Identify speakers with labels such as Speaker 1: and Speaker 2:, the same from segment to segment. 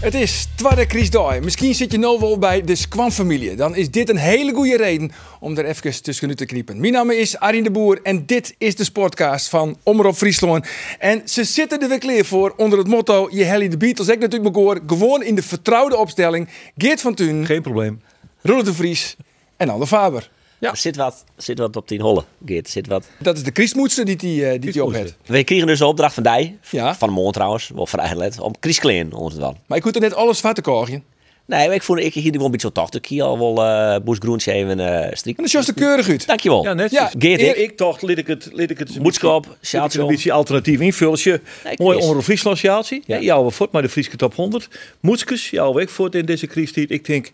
Speaker 1: Het is Twarde Kriesdooi. Misschien zit je nou wel bij de Squam-familie. Dan is dit een hele goede reden om er even tussenuit te kniepen. Mijn naam is Arjen de Boer en dit is de sportcast van Omroep Friesland. En ze zitten er weer klaar voor onder het motto... Je helly de Beatles, ik natuurlijk maar hoor. Gewoon in de vertrouwde opstelling. Geert van Thun,
Speaker 2: Geen probleem.
Speaker 1: Roelof de Vries en Anne Faber.
Speaker 2: Ja.
Speaker 3: Er zit wat, zit wat op die holle, Geert. er Zit wat.
Speaker 1: Dat is de kriesmoedster die die, eh, die, die op heeft.
Speaker 3: We kregen dus de opdracht van Dij,
Speaker 1: Ja.
Speaker 3: van Moon trouwens, wel vrij gelet, om Chris Kleen onder te doen.
Speaker 1: Maar ik hoef er net alles van te krijgen.
Speaker 3: Nee, maar ik voelde ik hier gewoon een beetje zo tocht. Ik hier al wel eh Boes Groentje even eh
Speaker 1: En
Speaker 3: strikken.
Speaker 1: dan is er keurig uit.
Speaker 3: Dankjewel.
Speaker 2: Ja, net.
Speaker 1: Ja,
Speaker 2: Ja,
Speaker 3: Geert, ik.
Speaker 2: ik dacht, liet ik het... Liet ik het een
Speaker 3: Boodschap,
Speaker 2: beetje-
Speaker 3: sjaaltje
Speaker 2: liet ik het
Speaker 3: om.
Speaker 2: Een beetje alternatief invullen. Je
Speaker 3: ik
Speaker 2: Mooi
Speaker 3: wist.
Speaker 2: onder Friesland sjaaltje.
Speaker 3: Ja.
Speaker 2: Ja. Jouw we voort, maar de Friese top 100. Moetskes, jouw week voort in deze crisistijd. Ik denk,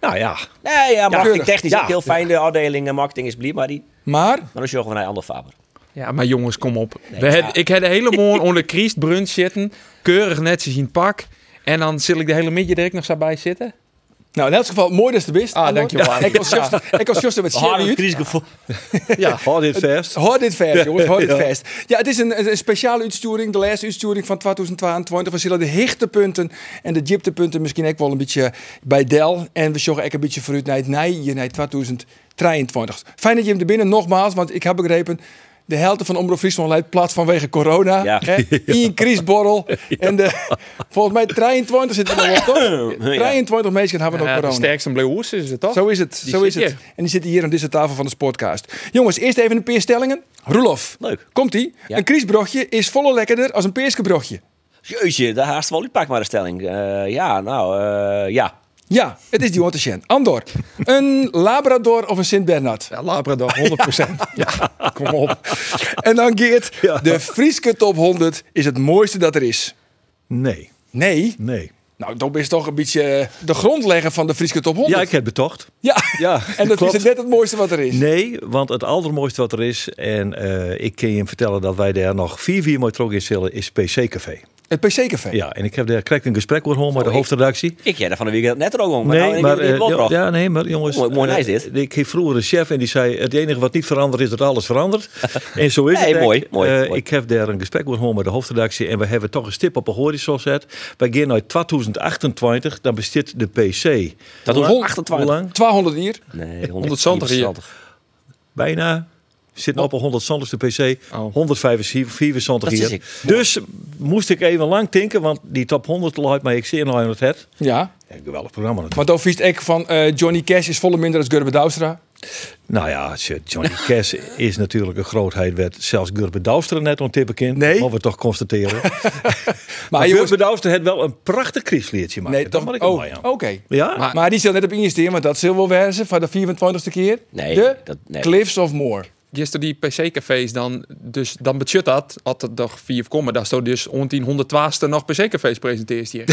Speaker 2: nou ja.
Speaker 3: Nee, ja, marketing technisch
Speaker 2: Ja.
Speaker 3: ook heel fijn. De afdeling eh, marketing is blij, maar die.
Speaker 1: Maar
Speaker 3: Maar dan zorgen we naar Ander Faber.
Speaker 4: Ja, maar jongens, kom op. We had- Ik had de hele morgen onder Christbrunch zitten. Keurig netjes in het pak. En dan zil ik de hele middag direct nog zo bij zitten.
Speaker 1: nou, in elk geval, mooi dat is de best.
Speaker 4: Ah,
Speaker 1: Anne.
Speaker 4: dankjewel, Anne.
Speaker 1: Ik was juist- Ik was juist met Sherry
Speaker 3: Harde
Speaker 1: uit.
Speaker 3: crisis
Speaker 2: Ja, houd dit vast.
Speaker 1: Hoor dit vers, jongens, hoor dit
Speaker 2: Ja.
Speaker 1: vers. Ja, het is een, een speciale uitsturing, de laatste uitsturing van 2022. We zullen de hichtepunten en de dieptepunten misschien ook wel een beetje bij Del. En we zorgen ook een beetje vooruit naar het nieuwe, naar 2023. Fijn dat je hem er binnen, nogmaals, want ik heb begrepen... De helte van Omroep Friesland leidt plat vanwege corona.
Speaker 3: Ja.
Speaker 1: Hè? Ian Kriesborrel. En de, volgens mij 23 zitten er nog op, toch?
Speaker 3: Ja.
Speaker 1: 23 mensen hebben nog
Speaker 4: Ja, de
Speaker 1: corona.
Speaker 4: sterkste bleeuws is het toch?
Speaker 1: Zo is het.
Speaker 4: Oh, Die
Speaker 1: zo
Speaker 4: zit
Speaker 1: is het.
Speaker 4: hier.
Speaker 1: En die zitten hier aan deze tafel van de podcast. Jongens, eerst even een paar stellingen. Roelof.
Speaker 3: Leuk.
Speaker 1: Komt-ie.
Speaker 3: Ja.
Speaker 1: Een kriesbroodje is volle lekkerder als een peerskebroodje.
Speaker 3: Jeusje, daar haast wel. U pak maar de stelling. Eh, ja, nou, eh, ja.
Speaker 1: Ja, het is die Otterchen. Andor. Een Labrador of een Sint-Bernard.
Speaker 4: Ja, Labrador, 100%. ja, kom op.
Speaker 1: En dan Geert. De Frieske top 100 is het mooiste dat er is.
Speaker 2: Nee,
Speaker 1: Nee.
Speaker 2: nee.
Speaker 1: Nou, dat is toch een beetje eh, de grondlegger van de Frieske top 100.
Speaker 2: Ja, ik heb betocht.
Speaker 1: Ja.
Speaker 2: Ja,
Speaker 1: En dat
Speaker 2: klopt.
Speaker 1: is net het mooiste wat er is.
Speaker 2: Nee, want het allermooiste wat er is, en eh, ik kan je vertellen dat wij daar nog vier, vier mooi trok in zullen, is PC Café.
Speaker 1: Het PC-café.
Speaker 2: Ja, en ik heb daar krijg ik een gesprek over gehad met de
Speaker 3: ik-
Speaker 2: hoofdredactie.
Speaker 3: Ik jij daar van de weekend net er ook om.
Speaker 2: Nee, maar,
Speaker 3: nou, ik,
Speaker 2: eh, ja, ja, nee, maar jongens.
Speaker 3: Mooi- mooi
Speaker 2: eh,
Speaker 3: lijst dit.
Speaker 2: Ik heb vroeger een chef en die zei: Het enige wat niet verandert is dat alles verandert. en zo is
Speaker 3: Nee,
Speaker 2: het.
Speaker 3: mooi,
Speaker 2: ook.
Speaker 3: mooi,
Speaker 2: Eh,
Speaker 3: mooi.
Speaker 2: Ik heb daar een gesprek over gehad met de hoofdredactie. En we hebben toch een stip op een horizon gezet. Wij gaan naar 2028, dan bestaat de PC.
Speaker 3: dat
Speaker 1: Hoe
Speaker 3: doen we
Speaker 1: lang?
Speaker 3: 28.
Speaker 2: Hoe lang?
Speaker 1: 1200 hier.
Speaker 3: Nee,
Speaker 4: 170 hier.
Speaker 3: 170.
Speaker 2: Bijna. Zit op een 100 de PC.
Speaker 4: Oh.
Speaker 2: 175
Speaker 3: Dat is
Speaker 2: hier. Dus moest ik even lang tinken, want die top 100 luidt mij ik zeer nou in het het.
Speaker 1: Ja.
Speaker 2: Een geweldig programma natuurlijk.
Speaker 1: Maar dan vies ik van eh, Johnny Cash is volle minder als Gerben Douwstra.
Speaker 2: Nou ja, tje, Johnny Cash is natuurlijk een grootheid. Werd zelfs Gurbe Douwster net ontippen kind.
Speaker 1: Nee.
Speaker 2: Mogen we toch constateren.
Speaker 1: Maar
Speaker 2: maar
Speaker 1: jongens,
Speaker 2: Gurbe Douwster had wel een prachtig kriesleertje maken.
Speaker 1: nee,
Speaker 2: dat
Speaker 1: toch?
Speaker 2: ik
Speaker 1: Oh,
Speaker 2: oh.
Speaker 1: oké.
Speaker 2: Ja?
Speaker 1: Maar, maar die zal net op investeren, want dat zal wel wezen van de 24e keer.
Speaker 3: Nee,
Speaker 1: de
Speaker 3: dat- nee.
Speaker 1: Cliffs of Moore.
Speaker 4: Gisteren die PC-cafés dan, dus dan budget dat, had het nog vier komen. Daar stond dus rond die 112ste nog PC-cafés presenteert hier.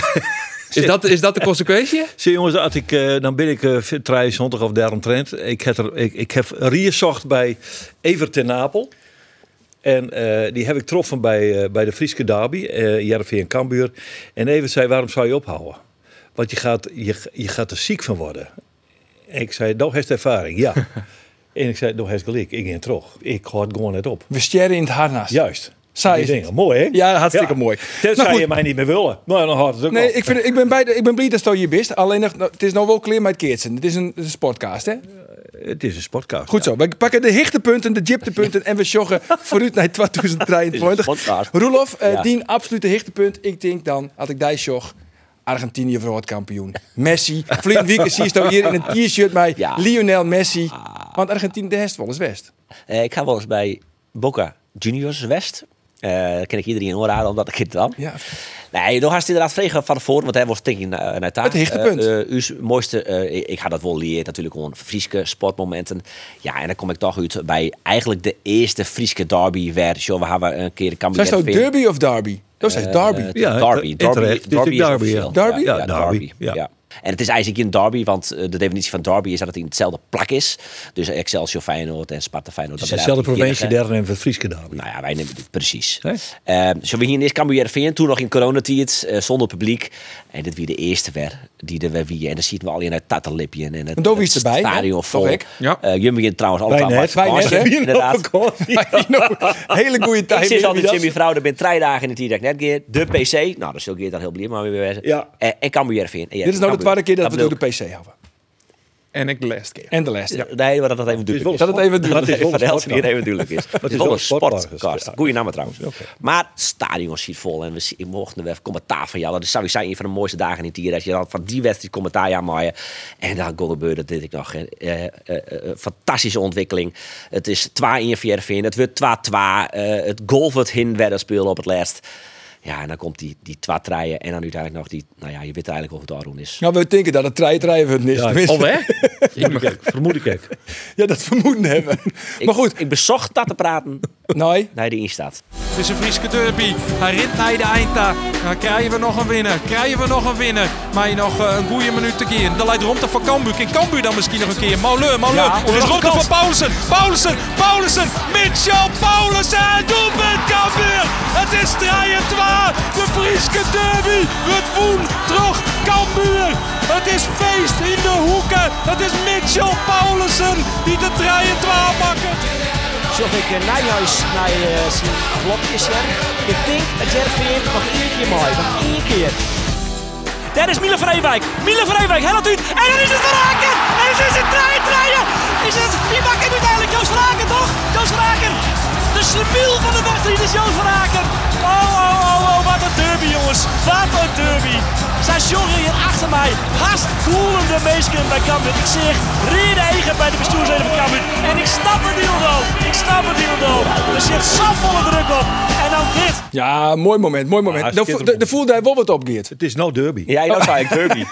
Speaker 4: is, dat, is dat de consequentie?
Speaker 2: Zie je, jongens, als ik, eh, dan ben ik eh 23 of daaromtrent. Ik heb, er, ik, ik heb Rier zocht bij Evert ten Napel. En eh, die heb ik getroffen bij, eh, bij de Frieske Derby, eh Jervie en Cambuur. En Evert zei, waarom zou je ophouden? Want je gaat, je, je gaat er ziek van worden. En ik zei, nou heeft ervaring, ja. en ik zei, nou heeft gelijk, ik ging terug. Ik houd gewoon net op.
Speaker 1: We sterren in het harnas.
Speaker 2: Juist.
Speaker 1: Saai
Speaker 2: Die
Speaker 1: is
Speaker 2: dingen. Mooi, hè?
Speaker 1: Ja, hartstikke mooi.
Speaker 2: Dat
Speaker 1: Nou,
Speaker 2: zou
Speaker 1: goed.
Speaker 2: je mij niet meer willen. Maar dan houdt het ook
Speaker 1: Nee,
Speaker 2: op.
Speaker 1: ik, vind, ik, ben bij de, ik ben blij dat je hier bent. Alleen, nog- nou, het is nou wel clear met Keertsen. Het is een, het is een podcast, hè?
Speaker 2: Het is een sportkaart.
Speaker 1: Goed zo. We pakken de hichtepunten, de jiptepunten en we joggen vooruit naar
Speaker 3: Het is
Speaker 1: 2023.
Speaker 3: een podcast.
Speaker 1: Roelof, eh
Speaker 3: Ja.
Speaker 1: dien absolute hichtepunt. Ik denk dan, had ik die jog, Argentinië wereldkampioen. Messi. Vlien Wieken zie je staan hier in een t-shirt bij
Speaker 3: Ja. Ah.
Speaker 1: Lionel Messi. Want Argentinië, de hest wel eens west.
Speaker 3: Eh, ik ga wel eens bij Boca Juniors West. Eh daar ken ik iedereen horen omdat ik het dan.
Speaker 1: Ja.
Speaker 3: Nee, nog had inderdaad vregen van tevoren, want hij was stinking naar, naar taak.
Speaker 1: Het hichtepunt.
Speaker 3: Eh, eh, uw mooiste, eh, ik, ik ga dat wel leren, natuurlijk gewoon Frieske sportmomenten. Ja, en dan kom ik toch uit bij eigenlijk de eerste Frieske derby. Waar, zo, we hebben een keer de
Speaker 1: Zijn
Speaker 3: kampioen.
Speaker 1: zo derby of derby? Dat is
Speaker 3: Eh,
Speaker 1: derby.
Speaker 3: eh,
Speaker 2: Ja,
Speaker 3: derby.
Speaker 2: terecht. Dit is derby,
Speaker 3: Derby. is
Speaker 2: ja.
Speaker 3: officieel.
Speaker 1: Derby?
Speaker 3: Ja,
Speaker 2: Ja, derby, ja.
Speaker 3: Ja. En het is eigenlijk een derby, want eh, de definitie van derby is dat het in hetzelfde plak is. Dus Excelsior Feyenoord en Sparta Feyenoord.
Speaker 2: Het is
Speaker 3: dat
Speaker 2: dezelfde
Speaker 3: zijn eigenlijk
Speaker 2: provincie
Speaker 3: de
Speaker 2: derde en van Frieske Derby.
Speaker 3: nou ja, wij nemen dit precies.
Speaker 2: Nee?
Speaker 3: Eh, zo we hier in eerst Cambuur RVN, toen nog in coronatijd, eh zonder publiek. En dit wie de eerste werd, die er weer wie. En dan zien we al in het tattenlipje. En het,
Speaker 1: En Dovi is
Speaker 3: het
Speaker 1: erbij, hè?
Speaker 3: stadion
Speaker 1: Toch
Speaker 3: vol.
Speaker 1: ik?
Speaker 4: Ja.
Speaker 3: Eh, Jumbo hier trouwens
Speaker 2: Bijna,
Speaker 3: allemaal
Speaker 2: hè?
Speaker 3: hard
Speaker 1: Bijna,
Speaker 3: kansen,
Speaker 1: hè?
Speaker 3: Inderdaad.
Speaker 1: Hele goede tijd.
Speaker 3: Ik zit
Speaker 1: Wie
Speaker 3: altijd
Speaker 1: dat?
Speaker 3: Jimmy Vrouw, er bent drie dagen in het direct net keer. De PC, nou dat zul je dan heel blij maar weer wijzen.
Speaker 2: Ja.
Speaker 3: En, en Cambuur RVN. En ja,
Speaker 1: Dit is nou de
Speaker 3: Cambuur.
Speaker 1: tweede keer dat we
Speaker 3: bedoel
Speaker 1: door de PC houden.
Speaker 4: En ik de laatste keer.
Speaker 1: En de les.
Speaker 3: ik. Eh, Nee, maar dat dat even duidelijk
Speaker 2: wel
Speaker 3: is.
Speaker 1: Dat het even
Speaker 2: Maar het
Speaker 1: duurt.
Speaker 2: is wel een
Speaker 3: Van Helsen
Speaker 2: sportpark.
Speaker 3: hier even duidelijk is. Het is wel een sportcast.
Speaker 2: sportpark.
Speaker 3: Goeie naam trouwens. Maar het stadion ziet vol. En we zien- mochten er even commentaar van jou. Dat is sowieso een van de mooiste dagen in het jaar. Dat je dan van die wedstrijd commentaar aan maaien. En dan kon gebeuren dat dit ik nog. hè. Eh, eh, eh, fantastische ontwikkeling. Het is 2-1 voor Heerenveen. Het wordt 2-2. Eh, het goal wordt hin werden spelen op het laatst. Ja, en dan komt die, die twa treien. En dan uiteindelijk nog die... Nou ja, je weet eigenlijk of het daarom is.
Speaker 1: Nou, we denken dat het treitraven is.
Speaker 2: Ja,
Speaker 1: Tenminste,
Speaker 4: Alweer? Ik mag-
Speaker 2: Kijk, vermoed ik ook.
Speaker 1: ja, dat vermoeden hebben.
Speaker 3: Ik-
Speaker 1: maar goed,
Speaker 3: Ik bezocht dat te praten.
Speaker 1: nee.
Speaker 3: Nee, die instaat.
Speaker 5: Het is een Frieske derby. Hij rint naar de eindta. Dan krijgen we nog een winnaar. Krijgen we nog een winnaar. Maar nog eh, een goede minuut te keer. Dan leidt Romte van Cambuur. In Cambuur dan misschien nog een keer. Mauleur, Mauleur.
Speaker 3: Ja,
Speaker 5: het is
Speaker 3: nog een
Speaker 5: Romte
Speaker 3: kans.
Speaker 5: van Paulussen. Paulussen, Paulussen. Mitchell Paulussen. Doelpunt Cambuur. Het is 3-2. De Frieske derby. Het woen terug Cambuur. Het is feest in de hoeken. Het is Mitchell Paulussen die de 3-2 maakt.
Speaker 6: zocht ik eh, Nijhuis naar eh, zijn blokjes. hè. Ik denk dat Jervin nog één keer mooi, nog één keer.
Speaker 5: Daar is Miele Vrijwijk. Miele Vrijwijk, heel uit. En dan is het Verhaken. En dan is het trein, treinen. Is het, die maakt het uiteindelijk Joost Verhaken, toch? Joost Verhaken. De slemiel van de wedstrijd is Joost Verhaken. Oh, oh, oh, oh, wat een derby, jongens. Wat een derby. Zijn jongen hier achter mij. Haast koelende meesken bij Cambuur. Ik zeg reden eigen bij de bestuursleden van Cambuur. En ik snap het dildo. Ik snap het dildo. Er zit zoveel druk op. En dan dit.
Speaker 1: Ja, mooi moment, mooi moment.
Speaker 2: Ja,
Speaker 1: Daar vo-
Speaker 2: schitterend.
Speaker 1: daar voelde hij wel wat opgeert.
Speaker 2: Het is nou derby.
Speaker 3: Ja, dat zei ik derby.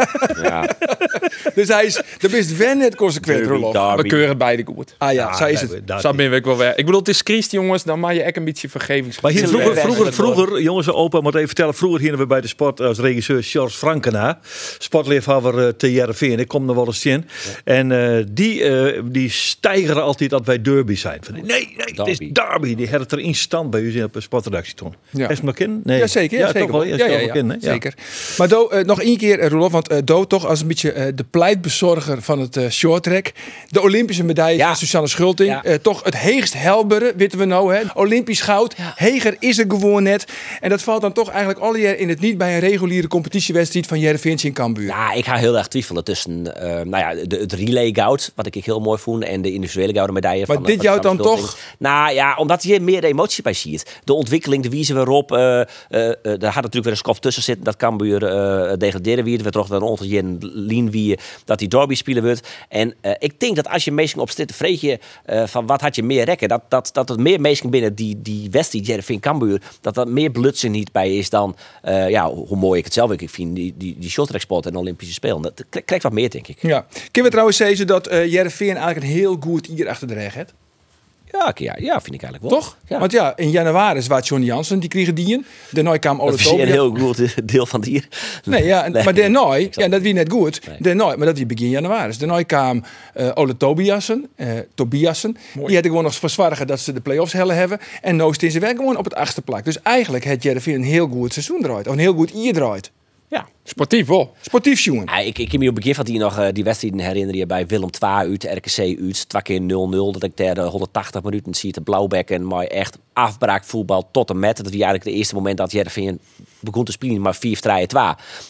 Speaker 3: ja,
Speaker 1: Dus hij is, dat is wel net consequent,
Speaker 3: derby,
Speaker 1: Rolof.
Speaker 4: We
Speaker 3: derby.
Speaker 4: keuren beide goed.
Speaker 1: Ah ja, zo is
Speaker 2: daar-
Speaker 1: het.
Speaker 2: daar-
Speaker 4: Zo ben ik wel weer. Ik bedoel, het is Christ, jongens. Dan maak je echt een beetje vergevings.
Speaker 2: Maar hier
Speaker 3: Zullen we
Speaker 2: vroeger,
Speaker 3: even
Speaker 2: vroeger,
Speaker 3: door?
Speaker 2: vroeger, jongens en opa, moet even vertellen. Vroeger gingen we bij de sport als regisseur Charles Frankena. Sportleefhaver eh te Jereveen. Ik kom er wel eens in. En eh, die, eh, die stijgeren altijd dat wij derby zijn. Van, nee, nee, het is
Speaker 3: Derby.
Speaker 2: derby. Die hadden het er in stand bij u in op de sportredactie toen.
Speaker 1: Ja.
Speaker 2: Ja. Is het nog in? Nee.
Speaker 1: Ja, zeker. Ja,
Speaker 2: toch
Speaker 1: zeker.
Speaker 2: wel.
Speaker 1: wel.
Speaker 2: Ja,
Speaker 1: Ja,
Speaker 2: is
Speaker 1: ja,
Speaker 2: toch
Speaker 1: ja,
Speaker 2: wel in, hè? Ja.
Speaker 1: Zeker. Maar Do, eh, nog één keer, eh, Roelof. Want eh, Do toch als een beetje eh, de pleitbezorger van het eh shorttrack. De Olympische medaille
Speaker 3: Ja.
Speaker 1: van Susanne Schulting.
Speaker 3: Ja.
Speaker 1: Eh, toch het heegst helbere, weten we nou. Hè? Olympisch goud. Heger is er gewoon net. En dat valt dan toch eigenlijk al jaar in het niet bij een reguliere competitiewedstrijd van Jervin in Cambuur.
Speaker 3: Nou, ik ga heel erg twijfelen tussen eh, nou ja, de, het relay goud, wat ik heel mooi vond, en de individuele gouden medaille.
Speaker 1: Maar
Speaker 3: van,
Speaker 1: dit
Speaker 3: van
Speaker 1: jou
Speaker 3: Sam
Speaker 1: dan
Speaker 3: Schulting.
Speaker 1: toch?
Speaker 3: Nou ja, omdat je meer emotie bij ziet. De ontwikkeling, de wijze waarop, eh, eh, eh, daar had natuurlijk weer een skof tussen zitten, dat Cambuur eh degraderen wie, er werd toch wel een ongeveer lien wie, dat die derby spelen wordt. En eh, ik denk dat als je meesting op zit, vreet je eh, van wat had je meer rekken, dat, dat, dat het meer meesting binnen die, die wedstrijd, Jervin Cambuur, dat dat meer blutsen niet bij is dan, eh, ja, hoe mooi ik het zelf ook vind, die, die, die shorttracksport en de Olympische Spelen. Dat k- krijgt wat meer, denk ik.
Speaker 1: Ja. Kunnen we trouwens zeggen dat eh Jervin eigenlijk een heel goed hier achter de reg heeft?
Speaker 3: Ja, oké, ja, ja, vind ik eigenlijk wel.
Speaker 1: Toch?
Speaker 3: Ja.
Speaker 1: Want ja, in januari is waar Johnny Jansen, die kregen die in. Daarna kwam
Speaker 3: dat is een
Speaker 1: Oletobia.
Speaker 3: heel groot deel van het hier.
Speaker 1: Nee, ja, en- maar daarna,
Speaker 3: snap
Speaker 1: ja, dat wie net goed. Daarna, maar dat wie begin januari. Daarna kwam eh Ole Tobiasen, eh, Tobiasen. Die had ik gewoon nog voor zorgen dat ze de play-offs hellen hebben. En Noost is werk gewoon op het achtste plak. Dus eigenlijk had Jervin een heel goed seizoen draait. Of een heel goed ier draait.
Speaker 3: Ja.
Speaker 4: Sportief wel.
Speaker 1: Sportief jongen.
Speaker 3: Ja, ik, ik kan me op het begin van die nog eh, die wedstrijden herinneren bij Willem II uit, RKC uit, twee keer 0-0. Dat ik daar de 180 minuten zie te blauwbekken. Maar echt afbraakvoetbal tot en met. Dat was eigenlijk het eerste moment dat Jervin begon te spelen. Maar 4 3 2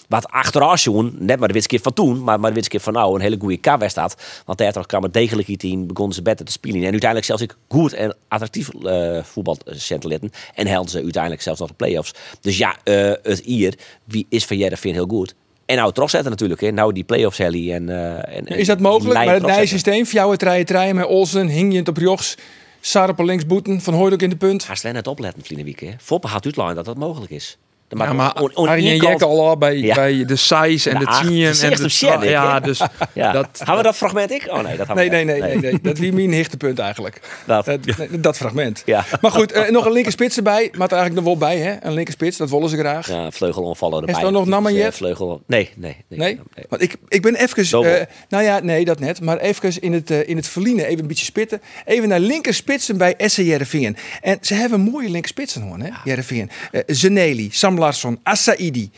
Speaker 3: Wat achteraf zoen, net maar de witste keer van toen, maar, maar de witste keer van nou, een hele goede K was dat. Want daar toch kwam het degelijk iets in, begonnen ze beter te spelen. En uiteindelijk zelfs ik goed en attractief eh voetbal litten. En helden ze uiteindelijk zelfs nog de play-offs. Dus ja, eh, het hier, wie is van Jervin heel goed? En nou terug zetten natuurlijk. Hè. Nou die play-offs rally. En, eh, en,
Speaker 1: Is dat
Speaker 3: en die
Speaker 1: mogelijk?
Speaker 3: lijn
Speaker 1: Maar het
Speaker 3: terug
Speaker 1: nieuwe
Speaker 3: zetten.
Speaker 1: systeem, jouw treien treien met Olsen, Hingje op rechts. Sarap linksboeten, Van Hooydonk in de punt.
Speaker 3: Ga Sven het opletten, vrienden Wiek. Foppen had uitlaan dat dat mogelijk is.
Speaker 4: Ja, maar
Speaker 3: on- on-
Speaker 4: Arjen
Speaker 3: inkant-
Speaker 4: Jek al al bij,
Speaker 3: Ja.
Speaker 4: bij de size en
Speaker 3: De
Speaker 4: de,
Speaker 3: acht,
Speaker 4: tien
Speaker 3: het is
Speaker 4: en
Speaker 3: echt
Speaker 4: de
Speaker 3: een shit,
Speaker 4: Ja,
Speaker 3: ik, hè?
Speaker 4: dus
Speaker 3: Ja.
Speaker 4: dat,
Speaker 3: Hadden we dat fragment ik? Oh nee, dat hadden
Speaker 1: Nee,
Speaker 3: we
Speaker 1: nee,
Speaker 3: niet.
Speaker 1: nee, nee, nee. Dat wie mijn hichtepunt eigenlijk.
Speaker 3: Dat.
Speaker 1: Eh, nee, dat fragment.
Speaker 3: Ja.
Speaker 1: Maar goed, eh, nog een linker spits erbij. Maar er eigenlijk nog wel bij, hè? Een linker spits, dat willen ze graag.
Speaker 3: Ja, vleugelonvallen erbij.
Speaker 1: er nog
Speaker 3: natuurlijk,
Speaker 1: Namanjet?
Speaker 3: eh, Vleugel... Nee, nee.
Speaker 1: Nee? Want ik, ik ben even.
Speaker 3: Dobbel.
Speaker 1: eh, nou ja, nee, dat net. Maar even in het, eh, in het verliezen, even een beetje spitten. Even naar linker spitsen bij SC Jerevingen. En ze hebben mooie linker spitsen hoor, hè? Jerevingen. Eh, Zeneli, Sam Larsson, Assaidi,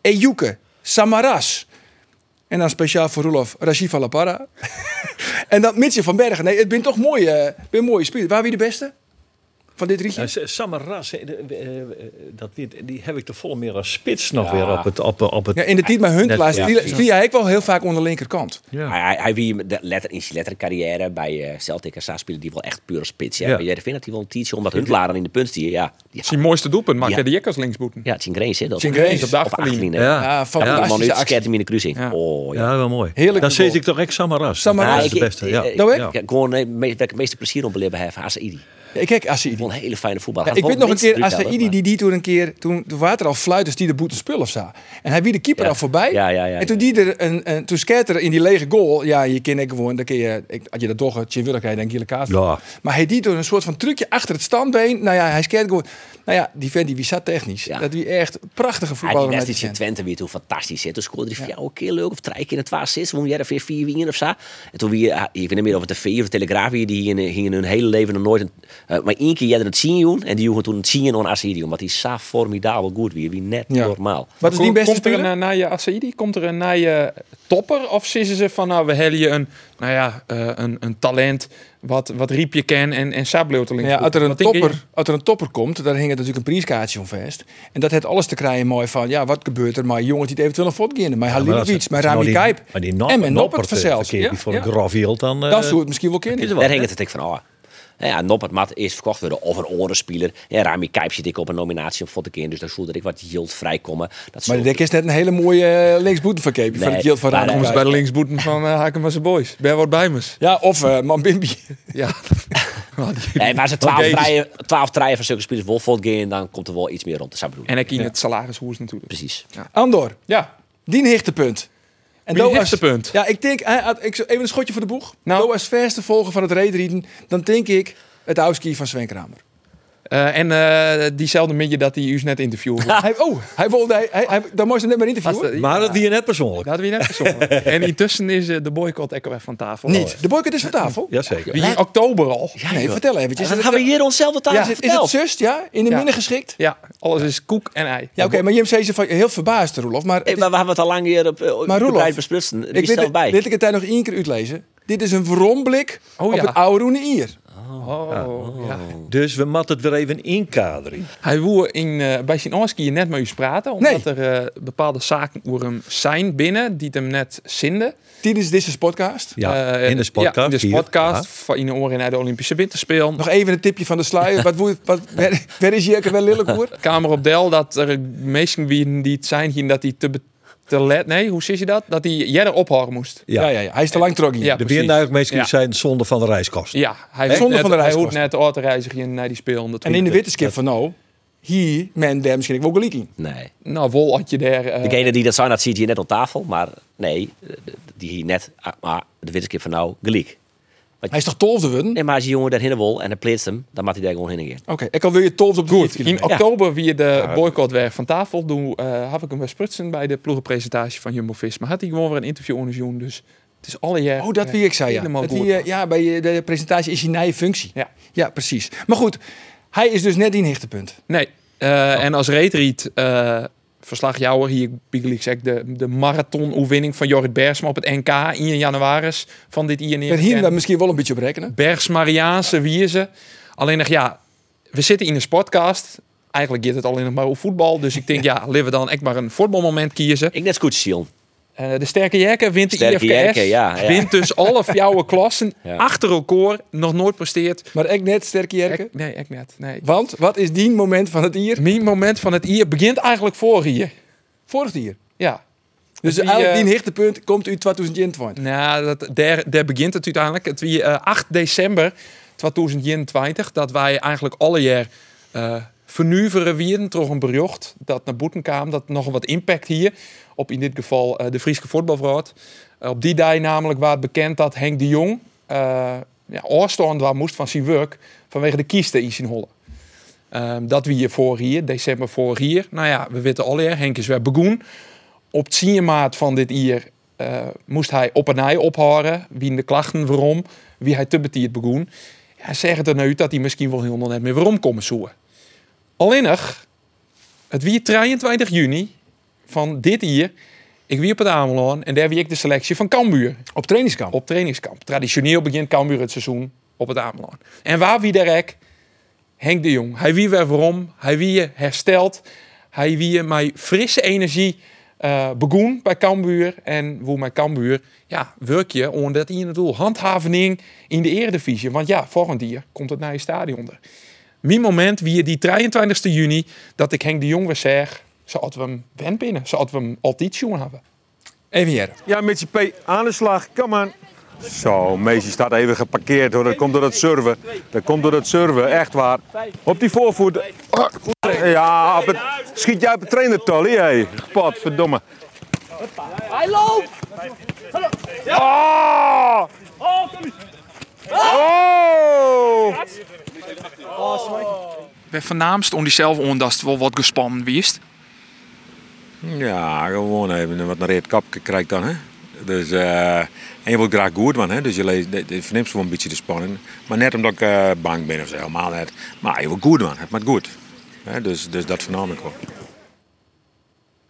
Speaker 1: Ejuke, Samaras. En dan speciaal voor Roelof, Rajiv Alapara. en dan Mitje van Bergen. Nee, het bent toch mooi, eh ben mooie spelen. Waar wie de beste? Van dit rietje?
Speaker 2: Ja, S- Samaras, eh, de- eh, eh, dat, die, die heb ik de volle meer als spits nog weer op het... Op, op het
Speaker 1: Ja, in de tijd met Huntelaar
Speaker 2: Net-
Speaker 1: ja. ja. hij wel heel vaak onder de linkerkant.
Speaker 3: Hij, hij, hij wie de letter, in zijn lettercarrière bij eh Celtic en spelen die wel echt pure spits. Ja.
Speaker 2: Ja.
Speaker 3: Maar jij vindt dat hij wel een tietje omdat hun dan in de punt die ja, die-
Speaker 4: zijn mooiste doelpunt maakt
Speaker 3: Ja.
Speaker 4: hij de Jek als linksboeten.
Speaker 3: ja, Chingrains hè. dat-
Speaker 1: Tjingrees
Speaker 4: op de
Speaker 3: Of
Speaker 4: achterlijn.
Speaker 3: achterlijn, hè.
Speaker 1: Ja,
Speaker 2: ja.
Speaker 3: Ja, die man
Speaker 1: fantastische
Speaker 3: nu
Speaker 1: actie.
Speaker 3: skeert hem in de kruising.
Speaker 4: Ja.
Speaker 3: Oh ja.
Speaker 2: ja, wel mooi.
Speaker 1: Heerlijk
Speaker 2: Dan
Speaker 1: voetbal.
Speaker 2: zit ik toch echt Samaras.
Speaker 1: Samaras.
Speaker 2: Dat
Speaker 3: Nou,
Speaker 2: is
Speaker 3: ik,
Speaker 2: de beste,
Speaker 3: ik-
Speaker 2: ja.
Speaker 3: ik-
Speaker 1: Nou, hè?
Speaker 3: ik- gewoon eh, me- waar ik het meeste plezier om beleven heb, Asaidi.
Speaker 1: Ik kijk, Assaidi.
Speaker 3: Wel een hele fijne voetbal.
Speaker 1: Ja, ik weet nog een keer, Asaidi die die toen een keer, toen de water al fluiters die de boete spul of zo. En hij wie de keeper
Speaker 3: Ja.
Speaker 1: al voorbij.
Speaker 3: Ja, ja, ja,
Speaker 1: en toen die er een, een toen skeert er in die lege goal. Ja, je kent ik gewoon, dan kun je, ik, had je dat toch, het Willigheid denk je de kaas.
Speaker 2: Ja.
Speaker 1: Maar hij die door een soort van trucje achter het standbeen. Nou ja, hij skeert gewoon. Nou ja, die vent die wie zat technisch.
Speaker 3: Ja.
Speaker 1: Dat wie echt prachtige
Speaker 3: Ja, die
Speaker 1: voetballer met die
Speaker 3: wedstrijd in
Speaker 1: vent.
Speaker 3: Twente weer toen fantastisch. Hè. Toen scoorde hij ja. een keer leuk of drie keer in het was zes. Won jij er weer vier wingen of zo. En toen weer, ah, ik weet niet meer of het de V of de Telegraaf hier, die gingen, gingen hun hele leven nog nooit. Een, eh, maar één keer jij er het zien joen, en die jongen toen het zien aan Assyrië. Omdat die zo formidabel goed weer, wie net
Speaker 1: Ja.
Speaker 3: normaal.
Speaker 1: Wat is die beste
Speaker 4: Komt er
Speaker 1: speler?
Speaker 4: een na je Assaidi? Komt er een na je topper? Of sissen ze van nou, we hebben je een, nou ja, eh, een, een talent wat, wat riep je ken en, en Sableeuw te
Speaker 1: Ja,
Speaker 4: linksboeten?
Speaker 1: als er, een
Speaker 4: Wat denk je?
Speaker 1: topper, als er een topper komt, daar hing het natuurlijk een prijskaartje van vast. En dat had alles te krijgen mooi van, ja, wat gebeurt er? Maar jongens die het eventueel een fot gaan. Maar Halimovic, maar Rami Kijp.
Speaker 2: Maar die Noppert, eh,
Speaker 1: En met Noppert vanzelf.
Speaker 2: verkeerd,
Speaker 1: Ja,
Speaker 2: die voor
Speaker 1: ja.
Speaker 2: een grof hield dan... eh,
Speaker 1: Dat zou het misschien wel kunnen.
Speaker 2: is wel,
Speaker 3: Daar
Speaker 2: hè?
Speaker 3: hing het het ik van af. Nou ja, Noppert Mat is verkocht worden of een orenspeler. Ja, Rami Kijp zit ik op een nominatie op Fotte keer. Dus daar voelde ik wat yield vrijkomen. Dat
Speaker 1: Maar
Speaker 3: zult-
Speaker 1: de dek is net een hele mooie uh, linksboetenverkeepje van
Speaker 3: Nee,
Speaker 1: het Jilt van
Speaker 3: maar,
Speaker 4: Kom
Speaker 1: Raam.
Speaker 4: eens bij de linksboeten van eh Hakemase Boys. Ben wat bij me.
Speaker 1: Ja, of eh Mambimbi.
Speaker 4: Ja.
Speaker 3: Nee, maar ze 12
Speaker 4: Oké, dus-
Speaker 3: draaien, 12 draaien van zulke spelers wel Fotte gaan, dan komt er wel iets meer rond. Dat zou ik bedoelen.
Speaker 4: En ik in het salarishoers natuurlijk.
Speaker 3: Precies.
Speaker 1: Andor,
Speaker 4: Ja.
Speaker 1: die hichtepunt. En
Speaker 4: Wie
Speaker 1: Doas-
Speaker 4: hichtepunt?
Speaker 1: Ja, ik denk, hij had- ik, zo- even een schotje voor de boeg.
Speaker 4: Nou.
Speaker 1: Nou, als verste volger van het reedrieden, dan denk ik het Auski van Sven Kramer.
Speaker 4: Eh, en eh, diezelfde midje dat hij u net interviewde.
Speaker 1: Hij, oh, hij wilde, hij, hij, hij- daar moest hij net maar interviewen.
Speaker 4: Was dat-
Speaker 2: Maar dat die je net persoonlijk.
Speaker 4: Dat hebben we net gezongen. en intussen is eh, de boycott ook weer van tafel.
Speaker 1: Niet. De boycott is van tafel.
Speaker 2: Jazeker.
Speaker 4: Wie in oktober al.
Speaker 1: nee, vertel eventjes.
Speaker 3: Dan
Speaker 1: Is
Speaker 3: gaan
Speaker 1: het-
Speaker 3: we hier onszelf de tafel
Speaker 1: is, het, is het zus, ja? In de
Speaker 4: Ja.
Speaker 1: midden geschikt?
Speaker 4: Ja, alles is koek en ei.
Speaker 1: Ja, oké, maar Jim zei ze van heel verbaasd, Roelof. Maar, het is-
Speaker 3: maar we hebben het al lang hier op eh, op
Speaker 1: Maar
Speaker 3: de
Speaker 1: Roelof,
Speaker 3: tijd besprutsen. Wie
Speaker 1: ik weet
Speaker 3: stelt
Speaker 1: het,
Speaker 3: bij?
Speaker 1: dit ik het daar nog één keer uitlezen. Dit is een veromblik
Speaker 4: Oh,
Speaker 1: op
Speaker 4: ja.
Speaker 1: het oude Ier.
Speaker 4: Oh, ja.
Speaker 2: Dus we matten het weer even inkaderen.
Speaker 4: Hij woe in, eh, bij Sinorski net met u praten. Omdat
Speaker 1: Nee.
Speaker 4: er eh, bepaalde zaken over hem zijn binnen die het hem net zinden.
Speaker 1: Tijdens deze podcast.
Speaker 2: Ja,
Speaker 4: Eh,
Speaker 2: in de podcast.
Speaker 4: Ja, in de
Speaker 2: hier.
Speaker 4: podcast.
Speaker 2: Ja.
Speaker 4: Van in de oren naar de Olympische Winterspelen.
Speaker 1: Nog even een tipje van de sluier. wat, woe- wat, waar, waar is Jerke wel lelijk hoor?
Speaker 4: Kamer op Del dat er mensen wie die het zijn gingen dat hij te, be- te let. Nee, hoe zeg je dat? Dat hij jeder ophoren moest.
Speaker 1: Ja.
Speaker 2: Ja.
Speaker 1: Ja, ja, Hij is te lang trok hier.
Speaker 4: Ja.
Speaker 2: De
Speaker 4: precies.
Speaker 2: Bierduikmeester
Speaker 4: Ja.
Speaker 2: zijn zonde van de reiskosten.
Speaker 4: Ja, hij
Speaker 1: Zonder
Speaker 4: hoeft net-
Speaker 1: van de
Speaker 4: Hij
Speaker 1: reiskosten.
Speaker 4: hoeft net de auto reizigen naar die spelen.
Speaker 1: En in de witte skip van nou, hier, men daar misschien ook wel gelijk in.
Speaker 3: Nee.
Speaker 4: Nou, Wol had je daar. eh,
Speaker 3: Degene die dat zijn, dat ziet hier net op tafel. Maar nee, eh, die hier net... ah, Maar de witte kip van nou, gelijk.
Speaker 1: Hij is toch tolfde worden?
Speaker 3: Nee, maar als die jongen daar hinnen wil en dat pleert hem, dan mag hij daar gewoon heen gaan.
Speaker 1: Oké, ik al wil je tolfde op de
Speaker 4: Goed,
Speaker 1: fiets.
Speaker 4: in oktober wie de boycott weg van tafel doe, eh had ik hem weer sprutsen bij de ploegenpresentatie van Jumbo Visma. Had hij gewoon weer een interview onderzoen, dus het is alle jaar.
Speaker 1: Oh, dat
Speaker 4: eh,
Speaker 1: wie ik zei, ja.
Speaker 4: helemaal
Speaker 1: Dat
Speaker 4: goed.
Speaker 1: die, eh, ja, bij eh, de presentatie is hij na je functie.
Speaker 4: Ja.
Speaker 1: ja, precies. Maar goed, hij is dus net in hichtepunt.
Speaker 4: Nee, eh,
Speaker 1: Oh.
Speaker 4: en als reetriet eh verslagjouwer hier Bigelix de, de marathon-oewinning van Jorrit Bersma op het NK in januari van dit INR.
Speaker 1: Daar hier we misschien wel een beetje op rekenen.
Speaker 4: Bergsmariaanse wierze. Alleen nog, ja, we zitten in een sportcast. Eigenlijk gaat het alleen nog maar over voetbal. Dus ik denk, ja, laten we dan echt maar een voetbalmoment kiezen.
Speaker 3: Ik net goed, Sion.
Speaker 4: Eh, de Sterke Jerken wint de
Speaker 3: Sterke
Speaker 4: IFKS.
Speaker 3: Jerken, ja, ja.
Speaker 4: Wint dus alle jouwe klassen.
Speaker 3: Ja.
Speaker 4: Achter elkaar, nog nooit presteert.
Speaker 1: Maar ik net, sterke Jerke.
Speaker 4: Ik- nee, ik net. Nee.
Speaker 1: Want wat is die moment van het hier?
Speaker 4: Mijn moment van het hier begint eigenlijk voor hier.
Speaker 1: Vorig hier.
Speaker 4: Ja.
Speaker 1: Dus
Speaker 4: Die,
Speaker 1: eigenlijk
Speaker 4: eh,
Speaker 1: die hichtepunt komt uit 2020.
Speaker 4: Nou, dat, daar, daar begint het uiteindelijk. Het wie eh, 8 december 2021, dat wij eigenlijk alle jaar eh, vernuveren wierden toch een bericht dat naar boeten kwam dat nog wat impact hier op in dit geval eh, de Friese voetbalraad. Eh, op die dag namelijk waar het bekend dat Henk de Jong eh ja, afstand waar moest van zijn werk vanwege de kiesten in zijn holle. Ehm, dat we hier voor hier, december voor hier. Nou ja, we weten al hè, Henk is weer begoen. Op het maart van dit jaar eh, moest hij op en nij ophoren. Wie de klachten waarom, wie hij te betiert begoen. Ja, zeg het er nou uit dat hij misschien wel helemaal net meer waarom komen zoeken. Alleenig, het wie 23 juni van dit jaar, ik wie op het Ameland en daar wie ik de selectie van Cambuur
Speaker 1: Op trainingskamp.
Speaker 4: op trainingskamp. Traditioneel begint Cambuur het seizoen op het Ameland. En waar wie derek? Henk de Jong. Hij wie weer waarom. Hij wie je herstelt. Hij wie je mij frisse energie eh begoen bij Cambuur. En hoe bij Cambuur, ja, werk je onder dat in het doel. Handhavening in de eredivisie. Want ja, volgend jaar komt het naar je stadion er. Mijn moment wie je die 23 juni dat ik Henk de Jong weer zeg, zouden we hem wen binnen. Zouden we hem altijd zien hebben.
Speaker 1: Even hier.
Speaker 7: Ja, met je P aan de slag. Kom aan. Zo, Messi staat even geparkeerd hoor. Dat komt door het server. Dat komt door het server, echt waar. Op die voorvoet. Ja, op het... schiet jij op het trainertal, hé. Hey. Potverdomme. Hij loopt! Oh! Oh!
Speaker 4: We voornaamst om diezelf ondast wel wat gespannen wist.
Speaker 7: Ja, gewoon even wat naar het kapje krijgt dan. Hè? Dus, eh, en je wilt graag goed van, hè? dus je, leest, je verneemt wel een beetje de spanning. Maar net omdat ik eh, bang ben of zo, helemaal net. Maar je wilt goed van, het maakt goed. Hè? Dus, dus dat vernam ik wel.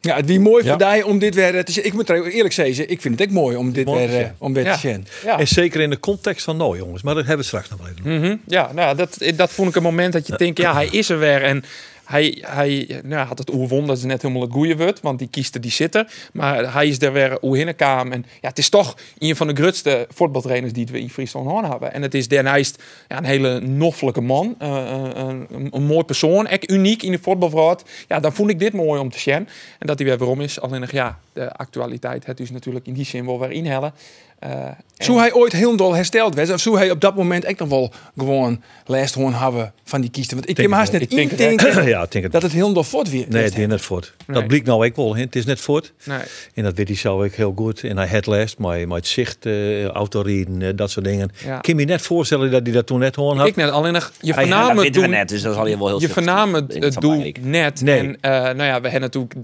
Speaker 1: Ja, het wie mooi voor die om dit weer te zien. Ik moet trouwens eerlijk zeggen, ik vind het ook mooi om dit
Speaker 2: Mooi,
Speaker 1: weer, eh,
Speaker 2: ja.
Speaker 1: om weer
Speaker 4: Ja.
Speaker 1: te zien.
Speaker 2: En zeker in de context van nou jongens, maar dat hebben we straks nog wel even.
Speaker 4: Mhm, Ja, nou, ja, dat, dat vond ik een moment dat je denkt, ja, hij is er weer. En hij, hij nou, ja, had het oerwon, dat is net helemaal het goede woord, want die kieste die zitten. Maar hij is er weer oerhinnenkaam. En ja, het is toch een van de grootste voetbaltrainers die we in Friesland Hoorn hebben. En het is daarnaast ja, een hele noffelijke man, eh, eh, een, een mooi persoon, echt uniek in de voetbalverhaal. Ja, dan vond ik dit mooi om te zien. En dat hij weer waarom is, alleen nog, ja, de actualiteit het is natuurlijk in die zin wel weer inhellen. Eh,
Speaker 1: Zou hij ooit helemaal hersteld werd, of zou hij op dat moment echt nog wel gewoon last hoorn hebben van die kiezen? Want ik
Speaker 2: Denk
Speaker 1: heb me haast
Speaker 2: het
Speaker 1: net
Speaker 4: wel. Ik denk
Speaker 1: indenken
Speaker 2: ja, ik denk het.
Speaker 1: dat het helemaal fort weer
Speaker 2: nee, het is net voort.
Speaker 4: Nee.
Speaker 2: Dat blijkt nou ik wel. hè. Het is net voort.
Speaker 4: nee.
Speaker 2: En dat weet hij zo ook heel goed. En hij had last, maar maar het zicht, eh autoriden, eh, dat soort dingen.
Speaker 4: Ja.
Speaker 2: Ik kan me net voorstellen dat hij dat toen net gewoon had.
Speaker 4: Ik net alleen nog, je
Speaker 2: Hij-
Speaker 3: Ja, dat
Speaker 4: voorname
Speaker 3: weten we
Speaker 4: doen,
Speaker 3: net, dus dat zal je wel heel
Speaker 4: Je
Speaker 3: suggestief
Speaker 4: vernam het,
Speaker 3: in
Speaker 4: het
Speaker 3: van
Speaker 4: doel
Speaker 3: Barik.
Speaker 4: net.
Speaker 2: Nee.
Speaker 4: En eh, nou ja, we hebben natuurlijk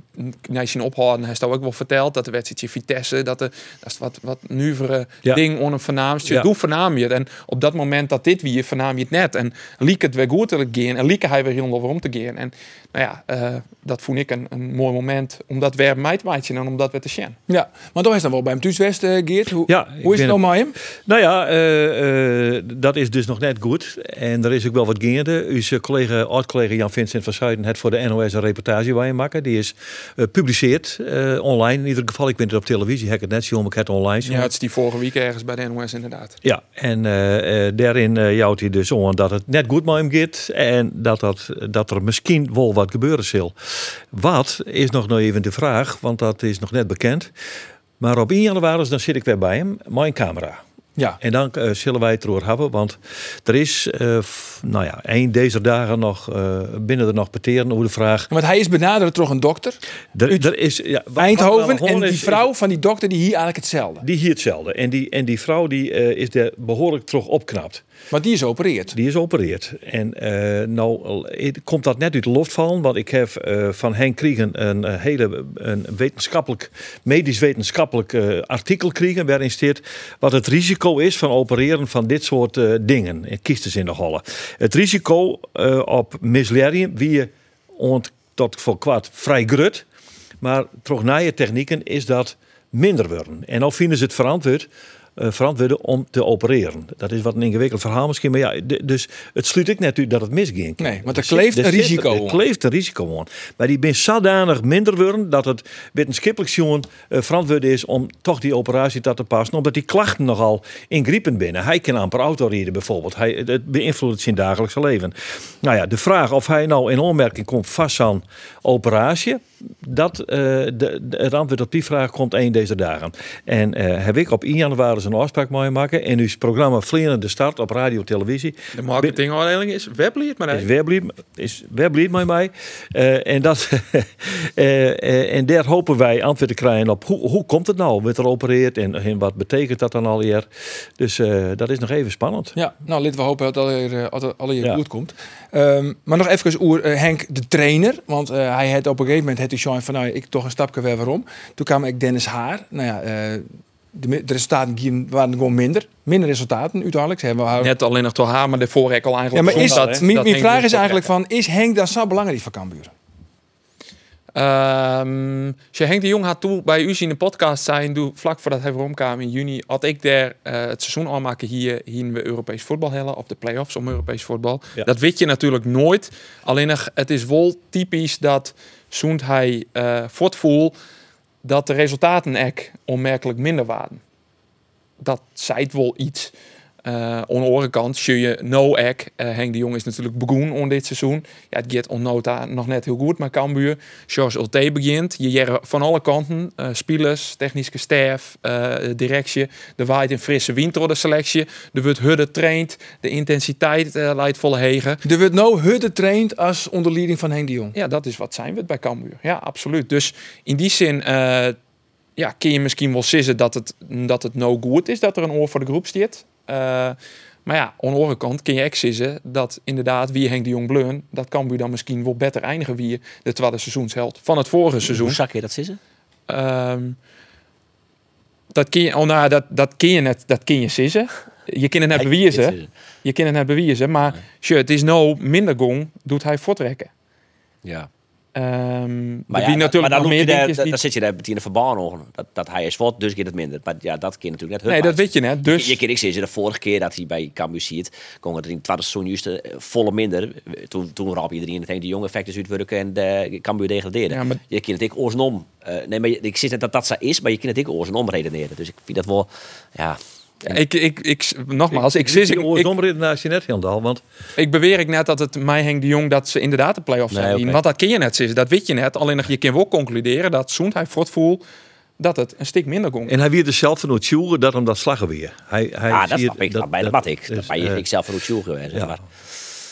Speaker 4: naar zien ophouden. Hij heeft ook wel verteld dat de wedstrijdje Vitesse, dat, de, dat is wat, wat nuvere
Speaker 2: Ja.
Speaker 4: ding onder vernaamst. Je
Speaker 2: Ja.
Speaker 4: doel vernaam je het. En op dat moment dat dit wie vernaam je het net. En liek het weer goed te gaan. En liek hij weer helemaal weer om te gaan. En nou ja, eh, dat vond ik een, een mooi moment. Omdat we mij te maken en omdat we te zien.
Speaker 1: Ja, maar toch is dan wel bij hem thuis West, Geert. Hoe,
Speaker 2: Ja, ik
Speaker 1: hoe is het
Speaker 2: ben
Speaker 1: nou met hem?
Speaker 2: Nou ja, eh, eh, dat is dus nog net goed. En er is ook wel wat gaande. Uw eh, collega, oud-collega Jan-Vincent van Zuiden heeft voor de NOS een reportage bij je maken. Die is gepubliceerd online. In ieder geval, ik ben het op televisie. Heb ik het net zien, maar ik heb het online. zien.
Speaker 4: Ja, het is die vorige week ergens bij de NOS inderdaad.
Speaker 2: Ja, en eh, eh, daarin eh jouwt hij dus om dat het net goed met hem gaat en dat, dat, dat er misschien wel wat gebeuren zal. Wat is nog nou even de vraag, want dat is nog net bekend. Maar op 1 januari dan zit ik weer bij hem, mijn camera.
Speaker 1: Ja.
Speaker 2: En dan eh, zullen wij het erover hebben, want er is, eh, f- nou ja, één deze dagen nog, eh, binnen er nog peteren over de vraag.
Speaker 1: Want hij is benaderd door een dokter,
Speaker 2: Er, er is, ja, wat- wat we
Speaker 1: Eindhoven,
Speaker 2: horen
Speaker 1: en
Speaker 2: is-
Speaker 1: die
Speaker 2: is-
Speaker 1: vrouw van die dokter die hier eigenlijk hetzelfde.
Speaker 2: die hier hetzelfde. En die, en die vrouw die, eh, is er behoorlijk terug opknapt.
Speaker 1: Maar die is opereerd.
Speaker 2: Die is opereerd. En eh, nou eh, komt dat net uit de loft vallen. Want ik heb eh, van Henk Kriegen een eh, hele een wetenschappelijk, medisch wetenschappelijk eh, artikel kregen. Waarin staat wat het risico is van opereren van dit soort eh, dingen. eh, Kiestes in de hollen. Het risico eh, op misleiding wie je ont, tot voor kwart vrij grut. Maar toch na je technieken is dat minder worden. En al vinden ze het verantwoord, eh, verantwoorden om te opereren. Dat is wat een ingewikkeld verhaal misschien. Maar ja, d- dus het sluit ik net uit dat het misging. kan.
Speaker 1: Nee, want er
Speaker 2: Er zit-
Speaker 1: kleeft een
Speaker 2: zit-
Speaker 1: risico
Speaker 2: Er
Speaker 1: aan.
Speaker 2: kleeft een risico aan. Maar die ben zodanig minder worden dat het wetenschappelijk zien eh verantwoord is om toch die operatie te laten passen. Omdat die klachten nogal ingriepen binnen. Hij kan amper auto rijden bijvoorbeeld. Hij, het- het beïnvloedt zijn dagelijkse leven. Nou ja, de vraag of hij nou in onmerking komt vast aan operatie. Dat, eh, de, de- het antwoord op die vraag komt één deze dagen. En eh, heb ik op 1 januari een afspraak mee maken. En uw programma Vleren de Start op radio en televisie
Speaker 4: De marketingafdeling is weblied, maar
Speaker 2: is
Speaker 4: even.
Speaker 2: weer blij- is weer blij met mij. Eh, en, dat, eh, eh, en daar hopen wij antwoord te krijgen op hoe, hoe komt het nou? Wordt er opereert en, en wat betekent dat dan alweer? Dus eh, dat is nog even spannend.
Speaker 1: Ja, nou, laten we hopen dat er, eh, dat er alle
Speaker 2: Ja.
Speaker 1: je goed komt. Ehm, maar nog even oer eh, Henk, de trainer. Want eh, hij had op een gegeven moment had hij Sean van, nou, ik toch een stapje weer waarom. Toen kwam ik Dennis Haar. Nou ja, eh, de, mi- de resultaten gingen- waren gewoon minder. Minder resultaten uiteindelijk. Ze hebben we
Speaker 4: Net alleen nog door haar, maar daarvoor heb ik al
Speaker 1: ja,
Speaker 4: eigenlijk...
Speaker 1: maar is,
Speaker 4: gezien
Speaker 1: mijn-
Speaker 4: dat
Speaker 1: mijn
Speaker 4: Henk
Speaker 1: vraag
Speaker 4: dus
Speaker 1: is
Speaker 4: op-
Speaker 1: eigenlijk van, is Henk dan zo belangrijk voor Cambuur?
Speaker 4: Ehm als je Henk de Jong had toen bij u in de podcast zijn, doe, vlak voordat hij weer kwam in juni, had ik daar eh, het seizoen afmaken hier, hier we Europees voetbal hellen, of de play-offs om Europees voetbal.
Speaker 2: Ja.
Speaker 4: Dat weet je natuurlijk nooit. Alleen nog, het is wel typisch dat zoend hij eh voortvoel dat de resultaten ek onmerkelijk minder waren. Dat zijt wel iets. Eh, aan de andere kant, zie je no ek. Eh, Henk de Jong is natuurlijk begoen om dit seizoen. Ja, het gaat onnota nog net heel goed, maar Cambuur. George Ulte begint. Je jaren van alle kanten. eh spelers, technische staf, eh, directie. Er waait een frisse wind door de selectie. Er wordt hudde traint. De intensiteit eh, leidt volle hegen.
Speaker 1: Er wordt nou Hutte traind als onder leiding van Henk de Jong.
Speaker 4: Ja, dat is wat zijn we het bij Cambuur. Ja, absoluut. Dus in die zin eh, ja, kun je misschien wel sissen dat het, dat het no good is dat er een oor voor de groep zit. Eh, maar ja, aan de andere kant kun je ook sissen dat inderdaad wie Henk de Jong bleun, dat Cambuur dan misschien wel beter eindigen wie de tweede seizoensheld van het vorige seizoen.
Speaker 3: Hoe zak je dat zitten?
Speaker 4: Ehm, dat kun je, oh, nou, dat, dat kun je net, dat kun je sissen. Je kunt het net bewijzen. Je kunt het net bewijzen, maar sure, het is no minder gong, doet hij voortrekken.
Speaker 3: Ja.
Speaker 4: Ehm
Speaker 3: Maar,
Speaker 4: er
Speaker 3: ja,
Speaker 4: wie natuurlijk
Speaker 3: maar dan,
Speaker 4: nog
Speaker 3: loop
Speaker 4: meer
Speaker 3: je daar,
Speaker 4: dingetjes
Speaker 3: dan,
Speaker 4: die-
Speaker 3: dan zit je daar met die verbaan over. Dat, dat hij is wat, dus gaat het minder. Maar ja, dat keer natuurlijk net.
Speaker 4: Nee, dat weet je net. Dus
Speaker 3: Je, je kan ik zeggen, de vorige keer dat hij bij Cambuur ziet, kon het in het tweede seizoen juist eh, volle minder. Toen, toen rap iedereen het heen, die jonge effecten uitwerken en de Cambuur degraderen.
Speaker 4: Ja, maar-
Speaker 3: Je kan het ik oorsnom. eh nee, maar je- ik zit net dat dat zo is, maar je kan het ik oorsnom redeneren. Dus ik vind dat wel, ja,
Speaker 4: ik, ik, ik, nogmaals, ik,
Speaker 2: zit
Speaker 3: Dus
Speaker 4: ik,
Speaker 2: die
Speaker 4: ik, ik,
Speaker 2: oorzaamreden naast je net heel dal, want
Speaker 4: beweer ik net dat het mij Henk de Jong dat ze inderdaad de play-offs
Speaker 3: Nee,
Speaker 4: zijn.
Speaker 3: oké.
Speaker 4: Want dat ken je net, Sis, dat weet je net. Alleen nog, je kan wel concluderen dat zoend hij voortvoel dat het een stuk minder ging.
Speaker 2: en hij wierde zelf van het sjoegen dat hem dat slaggen weer. Hij, hij
Speaker 3: ah, dat
Speaker 2: zie-
Speaker 3: snap ik. Dat, bij de
Speaker 2: dat-
Speaker 3: wat ik.
Speaker 2: dus,
Speaker 3: Dat ben je
Speaker 2: eh,
Speaker 3: ik zelf een show geweest. zeg
Speaker 2: ja.
Speaker 3: maar.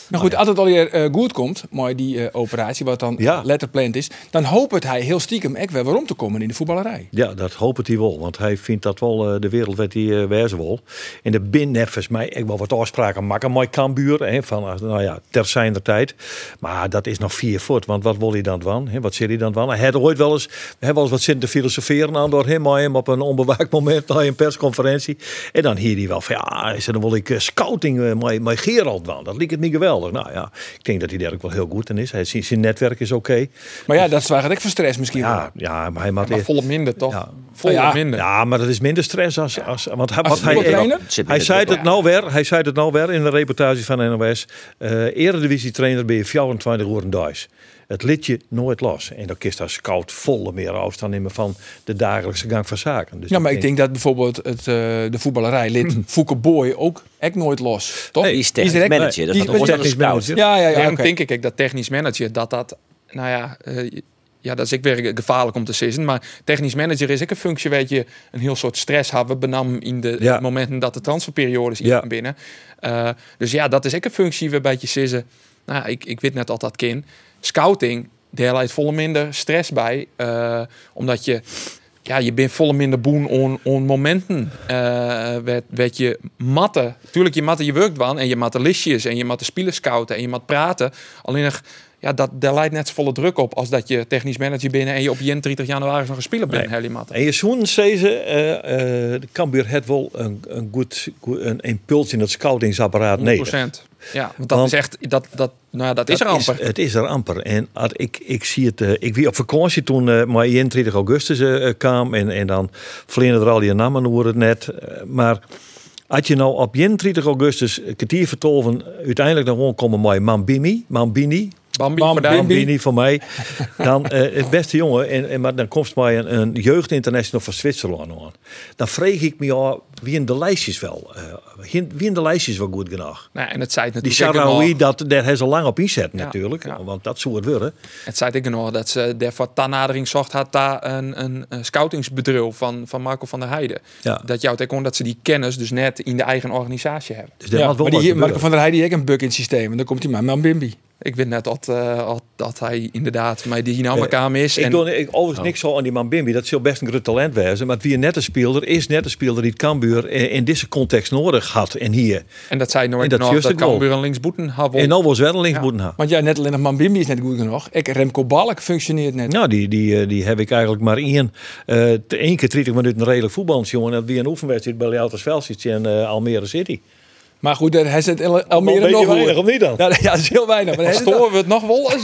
Speaker 1: Nou
Speaker 4: Oh,
Speaker 1: goed, als het alweer eh, goed komt, mooi die eh, operatie, wat dan
Speaker 2: Ja.
Speaker 1: letterplant is, dan hoopt hij heel stiekem echt weer waarom te komen in de voetballerij.
Speaker 2: Ja, dat hoop het hij wel. Want hij vindt dat wel eh, de wereld wat hij eh, wijzen wil. En de bin heeft volgens mij ik wel wat afspraken maken. Mooi Kambuur. Hè, van, eh, nou ja, ter zijn der tijd. Maar dat is nog vier voort. Want wat wil hij dan van? Hè? Wat zit hij dan van? Hij had ooit wel eens, we hebben wel eens wat zitten te filosoferen aan door hem. Maar hem op een onbewaakt moment na een persconferentie. En dan hier hij wel van ja, hij zei, dan wil ik eh, scouting eh, met met Gerald doen. Dat liep het niet geweldig. Nou ja, ik denk dat hij daar ook wel heel goed in is. Hij, zijn zijn netwerk is oké.
Speaker 1: Maar ja, dat is eigenlijk voor stress misschien wel.
Speaker 2: Ja, ja, maar hij maakt
Speaker 4: Maar
Speaker 2: eerst-
Speaker 4: volop minder, toch?
Speaker 2: Ja.
Speaker 4: Volop
Speaker 1: Ja.
Speaker 4: minder.
Speaker 2: ja, maar dat is minder stress als, als want hij, wat
Speaker 1: Als
Speaker 2: hij,
Speaker 1: voetbaltrainer?
Speaker 3: Zit binnen
Speaker 2: hij
Speaker 3: de
Speaker 2: zei
Speaker 3: druk,
Speaker 2: het nou weer, hij zei het nou weer in de reportage van NOS. eh Eredivisie trainer ben je 24 uur en thuis. Het liet je nooit los. En dan kist daar scout volle meer afstand nemen van de dagelijkse gang van zaken. Dus
Speaker 1: Ja, maar ik denk dat bijvoorbeeld het, eh, de voetballerij
Speaker 2: Hm.
Speaker 1: lid Fouke Boy ook echt nooit los, toch?
Speaker 2: Nee,
Speaker 3: Oh, Die is technisch
Speaker 1: direct-
Speaker 3: manager. Dat
Speaker 1: die
Speaker 3: is
Speaker 1: is
Speaker 3: nog wel een
Speaker 2: technisch
Speaker 3: scout.
Speaker 2: manager.
Speaker 1: Ja, ja, ja.
Speaker 4: Daarom
Speaker 1: oké.
Speaker 4: denk ik ook dat technisch manager dat dat, nou ja, eh, ja, dat is ik weer gevaarlijk om te sissen. Maar technisch manager is ook een functie, weet je, een heel soort stress hebben benam in de
Speaker 2: Ja.
Speaker 4: momenten dat de transferperiodes
Speaker 2: Ja.
Speaker 4: in binnen. Eh, dus ja, dat is ook een functie waarbij je sissen. Nou, ik, ik weet net al dat kind. Scouting, daar leidt volle minder stress bij, eh, omdat je ja, je bent volle minder boen on, on momenten. eh werd, werd je matte. Tuurlijk, je matte je werkt van en je matte listjes en je matte spelers scouten en je mat praten. Alleen nog, ja, dat, daar leidt net zo volle druk op als dat je technisch manager binnen en je op 31 januari nog een speler bent,
Speaker 2: Nee.
Speaker 4: Helly Matte.
Speaker 2: En je zoen zei ze, eh, eh, de Cambuur had wel een, een goed, goed- een impuls in het scoutingsapparaat. Nee,
Speaker 4: 100%. Ja, want dat
Speaker 2: Want-
Speaker 4: is echt, dat, dat, nou ja, dat, is er
Speaker 2: Dat
Speaker 4: amper.
Speaker 2: het is er amper. En als ik, ik zie het, eh, ik wie op vakantie toen eh maar 31 augustus eh, eh, kwam en, en dan vliegen er al die namen hoor het net. Eh, maar had je nou op 31 augustus een kwartier vertolven, uiteindelijk nog gewoon komen mooi Mambini, Mambini,
Speaker 4: Bambi,
Speaker 1: Bam-
Speaker 4: Bambi.
Speaker 1: Bambi.
Speaker 2: Bambini van mij. Dan, eh, het beste jongen, en, en, maar dan komt mij een, een jeugdinternational van Zwitserland aan. Dan vreeg ik me af, wie in de lijstjes wel? eh, wie wie in de lijstjes wel goed genoeg?
Speaker 4: Nou, en het zei het
Speaker 2: Die
Speaker 4: natuurlijk ook
Speaker 2: Sarawi,
Speaker 4: nog-
Speaker 2: dat, daar hebben ze lang op inzet natuurlijk.
Speaker 4: ja.
Speaker 2: Want dat zou het worden.
Speaker 4: Het zei ik nog dat ze daarvoor tanadering zocht had daar een, een, een scoutingsbedrijf van, van Marco van der Heijden.
Speaker 2: Ja.
Speaker 4: Dat jouw kon dat ze die kennis dus net in de eigen organisatie hebben.
Speaker 2: Dus daar
Speaker 1: Ja,
Speaker 2: had wel
Speaker 1: maar die,
Speaker 2: wat
Speaker 1: hier- Marco
Speaker 2: gebeuren.
Speaker 1: van der Heijden heeft ook een buk in het systeem. En dan komt hij maar met Bimbi.
Speaker 4: Ik weet net dat, eh, al- dat hij inderdaad mijn
Speaker 2: nou
Speaker 4: dynamica is.
Speaker 2: Ik
Speaker 4: en
Speaker 2: doe ik, overigens
Speaker 1: Oh.
Speaker 2: niks zo aan die man Bimbi. Dat zal best een groot talent wezen. Maar wie een nette speelder is net een speelder die het Cambuur in, in deze context nodig had. En hier.
Speaker 4: En dat zei
Speaker 2: En
Speaker 4: nooit
Speaker 2: dat
Speaker 4: nog,
Speaker 2: juist
Speaker 4: dat
Speaker 2: ik wel.
Speaker 4: kan weer een linksboeten hebben.
Speaker 2: En nou was wel een links moeten hebben.
Speaker 1: Want ja, net alleen nog Mambimbi is net goed genoeg. Ik, Remco Balk functioneert net.
Speaker 2: Nou, die, die, eh, die heb ik eigenlijk maar één, eh, te- één keer 30 minuten redelijk voetbal. Jongen, dat wie een oefenwedstrijd bij Lealtas Velsic en eh, Almere City.
Speaker 1: Maar goed, daar is het El-
Speaker 2: Wel
Speaker 1: Almere
Speaker 2: een
Speaker 1: nog
Speaker 2: beetje weinig,
Speaker 1: hoor.
Speaker 2: of niet dan?
Speaker 1: Ja, ja, dat is heel weinig. Maar daar is het
Speaker 4: Storen we het nog wel eens?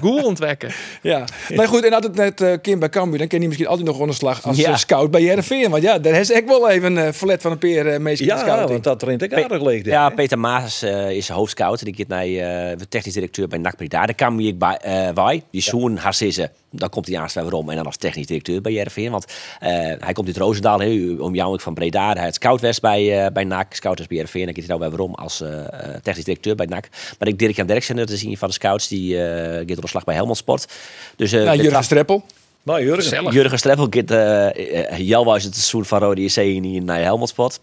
Speaker 4: Goel ontwekken.
Speaker 1: Ja, maar goed, en had het net eh Kim bij Cambuur, dan kan hij misschien altijd nog onderslag als
Speaker 3: Ja.
Speaker 1: eh, scout bij Herenveen. Want ja, daar is echt wel even een flat van een peer eh meestal
Speaker 2: Ja,
Speaker 1: scouting.
Speaker 2: want dat rent ik aardig leeg. denk
Speaker 3: Ja,
Speaker 2: ik.
Speaker 3: Peter Maas eh, is hoofdscout. Die gaat naar eh, de technisch directeur bij NAC Breda. Daar kan ik bij eh bij. Die zoen haar sissen. Dan komt hij aanstaan waarom. En dan als technisch directeur bij JRVN. Want eh, hij komt uit Roosendaal. hè, om jou ik van Breda. Hij had scoutwest bij, eh bij NAC. Scout is bij JRVN. Dan gaat hij nou bij waarom als eh, eh, technisch directeur bij NAC. Maar ik Dirk-Jan Derksen. Dat is een van de scouts. Die eh gaat ontslag bij Helmond Sport. Dus, eh,
Speaker 1: nou,
Speaker 3: dit
Speaker 1: Jurgen
Speaker 3: was-
Speaker 1: Streppel.
Speaker 2: Maar Jurgen,
Speaker 4: Gezellig.
Speaker 3: Jurgen Streppel gaat uh, het seizoen van Rode JC in naar Helmond Sport.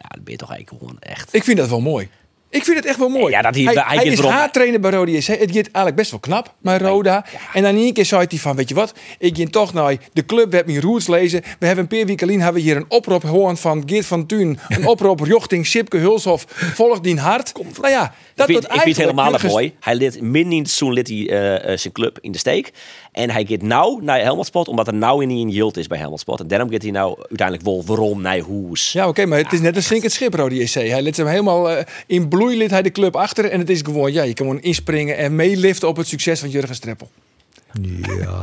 Speaker 3: Ja, dan ben je toch eigenlijk gewoon echt...
Speaker 1: Ik vind dat wel mooi. Ik vind het echt wel mooi.
Speaker 3: Ja, dat hij-
Speaker 1: hij,
Speaker 3: hij
Speaker 1: hij
Speaker 3: gaat
Speaker 1: is
Speaker 3: erom.
Speaker 1: haartrainer bij Rode JC. Het gaat eigenlijk best wel knap bij Roda. En dan in één keer zei hij van, weet je wat? Ik ging toch naar de club, we hebben mijn roots lezen. We hebben een paar weken geleden hebben we hier een oproep gehoord van Geert van Tuin. Een oproep richting Sipke Hulshof. Volg die hart. Nou ja, dat wordt
Speaker 3: ik vind, ik vind het
Speaker 1: eigenlijk
Speaker 3: helemaal niet
Speaker 1: Jurgen-
Speaker 3: mooi. Hij lid min in het seizoen lid hij eh, eh, zijn club in de steek. En hij gaat nou naar Helmond Sport, omdat er nou in een yield is bij Helmond Sport. En daarom gaat hij nou uiteindelijk wel waarom naar Hoes.
Speaker 1: Ja, oké, maar het is net een zinkend schip, Rode JC. Hij liet hem helemaal eh, in bloei, liet hij de club achter. En het is gewoon, ja, je kan gewoon inspringen en meeliften op het succes van Jurgen Streppel.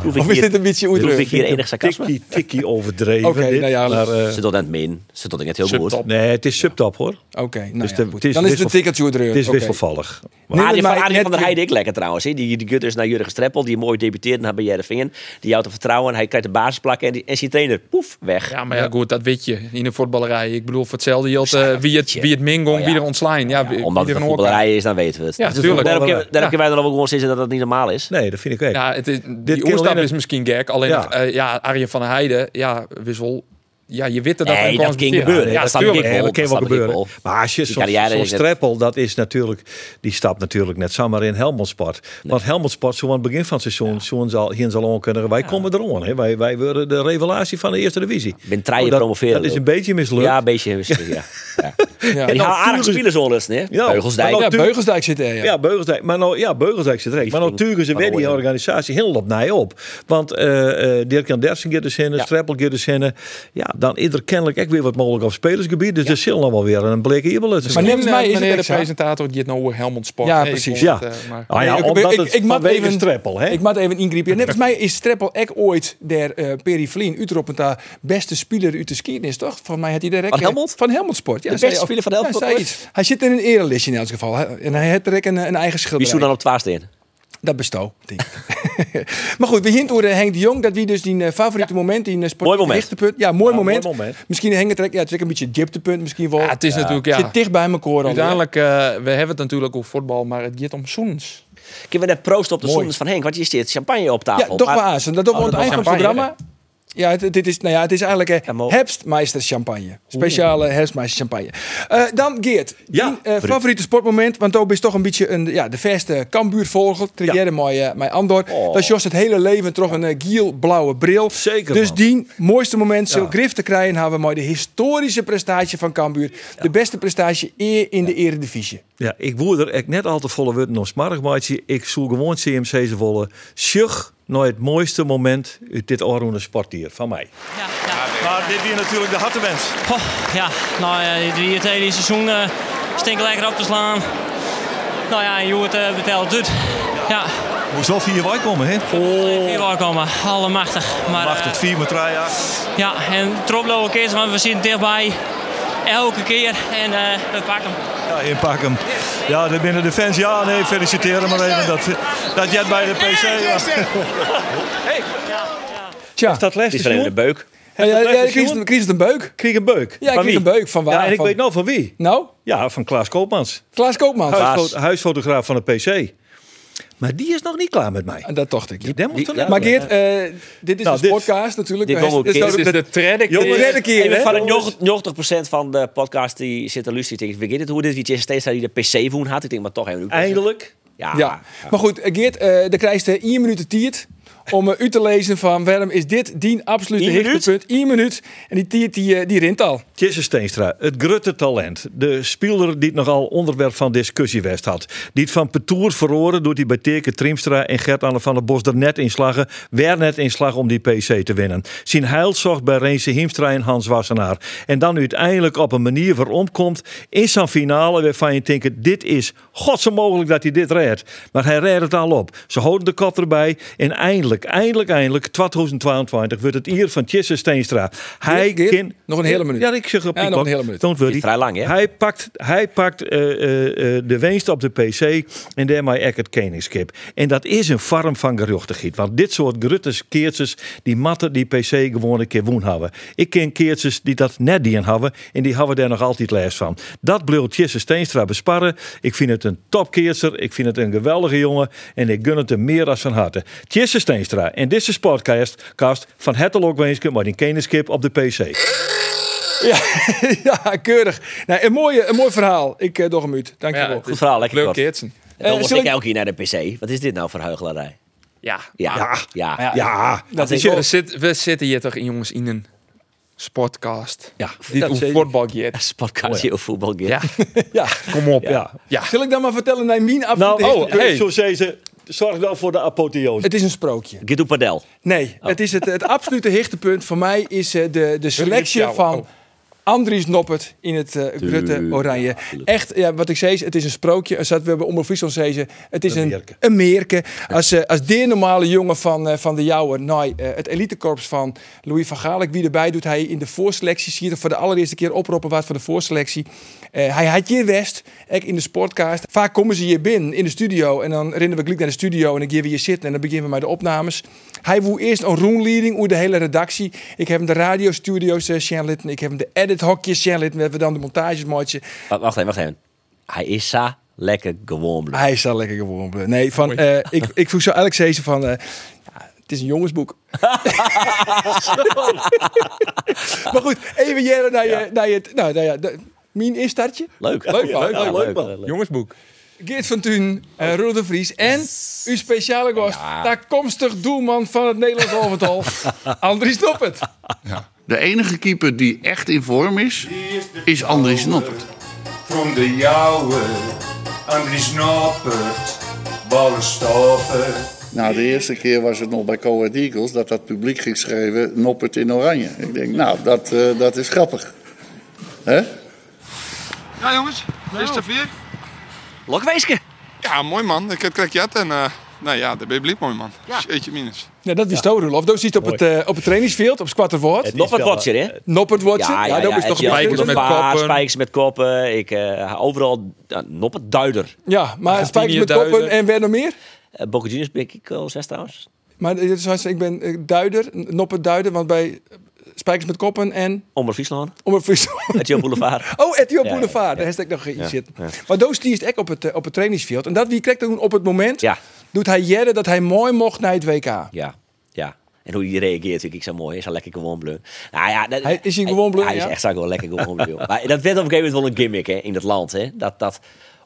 Speaker 3: Hoef ik
Speaker 1: Of is
Speaker 3: hier-
Speaker 1: dit een beetje
Speaker 3: hoef
Speaker 1: oedruk?
Speaker 3: ik hier enig sarcasme?
Speaker 2: tikkie, tikkie overdreven.
Speaker 1: Oké,
Speaker 2: dit,
Speaker 1: nou ja,
Speaker 2: maar, eh,
Speaker 3: Ze doet aan het min. Ze doet het net heel goed.
Speaker 4: Subtop.
Speaker 2: nee, het is subtop hoor.
Speaker 1: Oké, nou
Speaker 2: Dus
Speaker 1: ja,
Speaker 2: de-
Speaker 1: goed.
Speaker 2: het is
Speaker 1: dan is het een
Speaker 2: wissel-
Speaker 1: tikkeltje oedruk.
Speaker 2: Het is
Speaker 1: Oké.
Speaker 2: wisselvallig.
Speaker 1: Neem
Speaker 3: Arie
Speaker 1: het
Speaker 3: van,
Speaker 1: maar
Speaker 3: Arie
Speaker 1: net
Speaker 3: van der
Speaker 1: weer-
Speaker 3: Heijden ik lekker trouwens. hè. Die, die gaat dus naar Jurgen Streppel, die mooi debuteert naar bij Jerevingen. Die houdt hem vertrouwen en hij krijgt de basisplak en, die, en zijn trainer, poef, weg.
Speaker 4: Ja, maar ja, goed, dat weet je in de voetballerij. Ik bedoel, voor hetzelfde geld eh, wie, het, wie het mingong,
Speaker 3: Oh ja.
Speaker 4: wie er ontslaan. Ja, wie-
Speaker 3: Omdat
Speaker 4: wie
Speaker 3: het
Speaker 4: er
Speaker 3: een
Speaker 4: een oor krijgt.
Speaker 3: voetballerij is, dan weten we het. Dus
Speaker 4: Ja, tuurlijk.
Speaker 3: Daarom
Speaker 2: Ja.
Speaker 3: kunnen daarom kunnen wij dan ook gewoon zitten dat dat niet normaal is.
Speaker 2: Nee, dat vind ik ook.
Speaker 4: Ja, het is, die
Speaker 2: kan
Speaker 4: oerstap
Speaker 2: alleen-
Speaker 4: is misschien gek. Alleen,
Speaker 2: Ja.
Speaker 4: ja, ja Arjen van der Heijden, ja, wissel. Ja, je witte dat
Speaker 3: Nee,
Speaker 4: er een
Speaker 3: dat
Speaker 4: kans
Speaker 3: ging
Speaker 4: besteedt.
Speaker 3: gebeuren.
Speaker 4: Ja,
Speaker 3: Dat snap ik
Speaker 4: tuurlijk.
Speaker 3: ook.
Speaker 2: Nee, dat kan wel
Speaker 3: snap ik
Speaker 2: gebeuren.
Speaker 3: wel.
Speaker 2: Maar als je
Speaker 3: Die
Speaker 2: zo'n
Speaker 3: carrière
Speaker 2: zo'n
Speaker 3: is het-
Speaker 2: streppel, dat is natuurlijk, die stapt natuurlijk net samen in Helmond Sport. Want Helmond Sport, zo aan het begin van het seizoen, zo zal hier zal kunnen. Wij komen erom. hè. Wij, wij worden de revelatie van de eerste divisie.
Speaker 3: ben treien
Speaker 2: Oh, dat,
Speaker 3: promoveren,
Speaker 2: Dat is een
Speaker 3: Lul.
Speaker 2: beetje mislukt.
Speaker 3: Ja, een beetje. misschien, Ja. Ja. Nou, En die
Speaker 2: En
Speaker 3: halen aardige
Speaker 2: natuurlijk-
Speaker 3: spelers al eens, hè?
Speaker 2: Ja,
Speaker 3: Beugelsdijk.
Speaker 2: maar
Speaker 1: Ja,
Speaker 2: dan-
Speaker 1: Beugelsdijk zit er, ja.
Speaker 2: Ja, Beugelsdijk. Maar nou, ja, Beugelsdijk zit recht. Maar nou tugen ze weer die organisatie heel op nij op. Want eh eh Dirk-Jan Dersen gaat dus hinnen, Streppel gaat dus hinnen. Ja, dan is er kennelijk ook weer wat mogelijk op spelersgebied. Dus er zit nog wel weer een blik hier
Speaker 1: Maar
Speaker 4: Misschien,
Speaker 1: neemt mij
Speaker 4: eh,
Speaker 1: is het
Speaker 4: meneer de
Speaker 1: extra.
Speaker 4: presentator, die het nou over Helmond Sport.
Speaker 1: Ja,
Speaker 4: ik
Speaker 1: precies.
Speaker 4: hoor
Speaker 2: Ja.
Speaker 4: het, eh, maar-
Speaker 2: Ah, ja,
Speaker 1: ik-
Speaker 2: omdat
Speaker 1: ik-
Speaker 2: het
Speaker 1: ik maak
Speaker 2: vanwege
Speaker 1: even-
Speaker 2: Streppel, hè?
Speaker 1: Ik maak even ingrijpen. Net als mij is Streppel ek ooit der eh Peri Vlien Utrop en daar beste speler uit de geschiedenis, toch? Van mij had hij direct
Speaker 3: Van Helmond?
Speaker 1: Van Helmond Sport. Ja,
Speaker 3: De
Speaker 1: zei-
Speaker 3: beste speler van Helmond
Speaker 1: Ja, zei
Speaker 3: ooit?
Speaker 1: iets. Hij zit in een erelistje in elk geval. Hij- En hij heeft direct een, een eigen
Speaker 3: Wie
Speaker 1: schilderij.
Speaker 3: zou dan op het waas in?
Speaker 1: Dat besto, denk ik. maar goed, we hint over Henk de Jong. Dat wie dus die eh, favoriete moment in eh
Speaker 3: Mooi
Speaker 1: sport
Speaker 3: moment.
Speaker 1: hoogtepunt. Ja, mooi
Speaker 2: Ja,
Speaker 1: moment.
Speaker 2: mooi moment.
Speaker 1: Misschien Henk het trek, ja, het is ook een beetje het dieptepunt. Misschien wel.
Speaker 4: Ja, het is natuurlijk, ja.
Speaker 1: Zit dicht bij elkaar al.
Speaker 4: Uiteindelijk, eh, we hebben het natuurlijk over voetbal, maar het gaat om zoens.
Speaker 3: Ik heb net proost op de
Speaker 1: Mooi.
Speaker 3: zones van Henk, want je zit champagne op
Speaker 1: Ja,
Speaker 3: tafel.
Speaker 1: toch maar aan. Dat doen we aan het
Speaker 3: dat
Speaker 1: eind
Speaker 3: was
Speaker 1: van het
Speaker 4: champagne,
Speaker 1: programma. Ja, het, dit is, nou ja, het is eigenlijk
Speaker 3: Ja,
Speaker 1: eh
Speaker 3: maar-
Speaker 1: herfstmeister champagne. Speciale herfstmeister champagne. Eh, dan Geert,
Speaker 2: Ja,
Speaker 1: die, eh, favoriete sportmoment. Want Tobi is toch een beetje een, ja, de verste kambuurvogel. Triëren mooi eh, mijn Andor.
Speaker 3: Oh.
Speaker 1: Dat is Jos het hele leven toch een eh, giel-blauwe bril.
Speaker 2: Zeker,
Speaker 1: Dus
Speaker 2: man.
Speaker 1: die mooiste moment, zo grif te krijgen, hebben we mooi de historische prestatie van Cambuur. De beste prestatie eer in de eredivisie.
Speaker 2: Ja, ik woer er echt net al te volle worden om smarig, maatje. Ik zoek gewoon CMC ze volle. Sjug naar het mooiste moment uit dit Orroene sportier van mij.
Speaker 8: Ja, ja.
Speaker 2: Maar dit weer natuurlijk de hartenwens.
Speaker 8: Poh, ja. Nou ja, die het hele seizoen eh stinkt lekker op te slaan. Nou ja, en hoe het eh, betaald doet. Ja,
Speaker 2: Moest wel vier wij komen, hè?
Speaker 8: hier wel komen. Allemachtig. Maar, eh,
Speaker 2: vier met
Speaker 8: ja, en Troblo ook eens, want we zitten dichtbij. elke keer. En eh, we pakken hem.
Speaker 9: Ja, je pak hem. Ja, de binnen de fans. Ja, nee, feliciteren maar even dat, dat jij bij de PC was.
Speaker 1: Tja,
Speaker 2: Dat les
Speaker 3: Het is alleen de beuk.
Speaker 1: ja, ja,
Speaker 2: blijft
Speaker 1: ja,
Speaker 2: dus,
Speaker 1: Chris,
Speaker 2: jongen?
Speaker 1: Chris een beuk.
Speaker 2: Kreeg een beuk.
Speaker 1: Ja, ik kreeg
Speaker 2: wie?
Speaker 1: een beuk. Van waar?
Speaker 2: Ja, en ik
Speaker 1: Van-
Speaker 2: weet nou van wie.
Speaker 1: Nou,
Speaker 2: Ja, van Klaas Koopmans.
Speaker 1: Klaas Koopmans.
Speaker 2: Huisfo- huisfotograaf van de PC. Maar die is nog niet klaar met mij.
Speaker 1: En Dat dacht ik.
Speaker 2: Die moet
Speaker 3: die-
Speaker 2: van
Speaker 3: ja.
Speaker 1: Maar Geert, eh, dit is
Speaker 2: Nou,
Speaker 1: een
Speaker 2: dit-
Speaker 1: podcast natuurlijk.
Speaker 3: dit
Speaker 1: Eh,
Speaker 3: komen we
Speaker 1: dus
Speaker 3: Geert,
Speaker 1: dat-
Speaker 4: Dit is de tredic.
Speaker 1: de derde keer,
Speaker 3: Even
Speaker 1: hè?
Speaker 3: van de 90% van de podcast die zit er luisteren. Ik weet het hoe dit weekend steeds dat hij de PC woon had. Ik denk maar toch even.
Speaker 2: Eindelijk.
Speaker 3: Ah, Ja.
Speaker 1: Ja, maar goed, eh, Geert, eh dan krijg je 1 minuut de tiert om eh, u te lezen van waarom is dit dien absolute
Speaker 3: Ien minuut?
Speaker 1: hoogtepunt. 1 minuut en die tiert die, eh, die rint al.
Speaker 2: Jesse Steenstra, het grutte talent. De speler die het nogal onderwerp van discussie west had. Die het van Petoer verloren doet hij bij Teke Trimstra en Gert-Anne van der Bos er net in slagen. Weer net in slag om die PC te winnen. Zijn heil zocht bij Reense Hiemstra en Hans Wassenaar. En dan uiteindelijk op een manier waarom komt in zijn finale waarvan je denkt dit is godse mogelijk dat hij dit redt. Maar hij redt het al op. Ze houden de kat erbij en eindelijk, eindelijk, eindelijk 2022 wordt het hier van Jesse Steenstra. Hij
Speaker 1: Geert,
Speaker 2: kan...
Speaker 1: nog een hele minuut.
Speaker 2: Ja, ik zeg op
Speaker 1: Ja, nog
Speaker 2: TikTok.
Speaker 1: een hele minuut.
Speaker 2: Don't worry.
Speaker 3: Is vrij lang, hè?
Speaker 2: Hij pakt, hij pakt eh, eh, eh, de winst op de PC en daarmee ek het koningskip. En dat is een farm van geruchtigheid. Want dit soort grutters, keertjes, die matten die PC gewoon een keer woen hebben. Ik ken keertjes die dat net dien hebben en die hebben daar nog altijd les van. Dat bleef Jesse Steenstra besparren. Ik vind het een topkeertser. Ik vind het een geweldige jongen. En ik gun het hem meer als van harte. Jesse Steenstra en dit is podcast cast van het Lokwenske, maar die koningskip op de PC.
Speaker 1: ja, keurig. Nou, een, mooie, een mooi verhaal. Ik eh doe hem uit. Dankjewel.
Speaker 3: Goed verhaal, lekker
Speaker 4: Leuk
Speaker 3: kort.
Speaker 4: Kirtsen.
Speaker 3: En Dan
Speaker 1: Eh,
Speaker 3: was
Speaker 1: zal
Speaker 3: ik
Speaker 1: ik-
Speaker 3: elke keer naar de PC. Wat is dit nou voor huigelarij?
Speaker 4: Ja.
Speaker 3: Ja. Ja.
Speaker 2: Ja,
Speaker 1: dat is
Speaker 4: We, zit, we zitten hier toch, jongens, in een sportcast.
Speaker 2: Ja,
Speaker 4: Dit is een voetbalgeert.
Speaker 3: Sportcast heel voetbal.
Speaker 4: Ja.
Speaker 1: Oh Ja.
Speaker 4: Kom op.
Speaker 2: Ja.
Speaker 1: Zal ik dan maar vertellen naar mijn absolute
Speaker 2: Nou, oh,
Speaker 1: hoogtepunt?
Speaker 2: hey. zo zei ze, zorg wel voor de apotheose.
Speaker 1: Het is een sprookje.
Speaker 3: Git op padel.
Speaker 1: Nee, het, is het, het absolute hichtepunt voor mij is eh, de, de selectie
Speaker 4: jou?
Speaker 1: van
Speaker 4: Oh.
Speaker 1: Andries Noppert in het eh Rutte Oranje. Echt, ja, wat ik zei, is, het is een sprookje. Als dat we hebben Omroep Friesland zeiden, het is
Speaker 2: Een
Speaker 1: een,
Speaker 2: merke.
Speaker 1: een merke. Als, eh, als de normale jongen van, eh, van de jouwe, nee, eh, het elitekorps van Louis van Gaal, ik wie erbij doet hij in de voorselectie, zie je het voor de allereerste keer oproepen wat voor de voorselectie. Eh, hij had hier West, ik in de sportcast. Vaak komen ze hier binnen in de studio en dan rennen we gelijk naar de studio en dan gaan we hier zitten en dan beginnen we met de opnames. Hij woe eerst een roomleading over de hele redactie. Ik heb hem de radiostudio's uh, Shanlitten, ik heb hem de edithokjes Shanlitten, we hebben dan de montages maatje.
Speaker 3: Wa- Wacht even, wacht even. Hij is sa lekker gewoon blij.
Speaker 1: Hij is daar lekker geworden. Nee, van, eh, ik, ik vroeg zo Alex Hezen van... eh, ja, het is een jongensboek. maar goed, even jaren naar je... Naar je nou, nou ja, de- mijn instartje.
Speaker 3: Leuk.
Speaker 1: Leuk, man.
Speaker 3: Ja,
Speaker 1: Leuk,
Speaker 3: leuk,
Speaker 2: man.
Speaker 3: eh, leuk.
Speaker 4: Jongensboek.
Speaker 1: Geert van Thun, eh Roel de Vries en uw speciale gast, toekomstig doelman van het Nederlands overtal, Andries Noppert.
Speaker 10: De enige keeper die echt in vorm is, is Andries Noppert.
Speaker 11: From de jouwe, Andries Noppert, ballenstopper.
Speaker 10: Nou, de eerste keer was het nog bij Coed Eagles dat dat publiek ging schrijven Noppert in oranje. Ik denk, nou, dat, eh, dat is grappig. Hè?
Speaker 11: Ja jongens, is het vier?
Speaker 3: Lokweeske.
Speaker 11: Ja, mooi man. Ik heb krakjat en eh, nou ja, dat ben je blieb mooi man. Jeetje minus.
Speaker 1: Ja, dat is ja. Rolof. Dat ziet op het, eh, op het trainingsveld, op Squatterwoord.
Speaker 3: Nog wat watcher, hè?
Speaker 1: Noppert wordt je. eh, Ja, dat is toch een
Speaker 3: Spijkers
Speaker 1: beetje-
Speaker 3: met koppen. Spijkers met koppen. Ik, eh, overal uh, nog een duider.
Speaker 1: Ja, maar
Speaker 4: Ja,
Speaker 1: spijkers met
Speaker 4: Duiden.
Speaker 1: koppen en weer nog meer?
Speaker 3: Uh, Boca Juniors ben ik al zes trouwens.
Speaker 1: Maar eh, zoals ik ben eh, duider, noppet duider, want bij eh, Spijkers met Koppen en
Speaker 3: Omroep Friesland.
Speaker 1: om een vis-
Speaker 3: Het Jo Boulevard.
Speaker 1: Oh, Etio
Speaker 3: Ja,
Speaker 1: Boulevard, daar heeft ik nog in zitten. Maar Doos die is echt op het, eh, op het trainingsveld. En dat wie krijgt toen op het moment,
Speaker 3: Ja.
Speaker 1: doet hij Jere dat hij mooi mocht naar het WK.
Speaker 3: Ja, ja. En hoe hij reageert, vind ik zo mooi. Hij is al lekker gewoon bleu. Nou ja, dat-
Speaker 1: Hij- is hij gewoon bleu,
Speaker 3: Hij
Speaker 1: ja?
Speaker 3: is echt zo wel lekker gewoon bleu. Maar dat werd op een gegeven moment wel een gimmick hè, in dat land. Hè? Dat, dat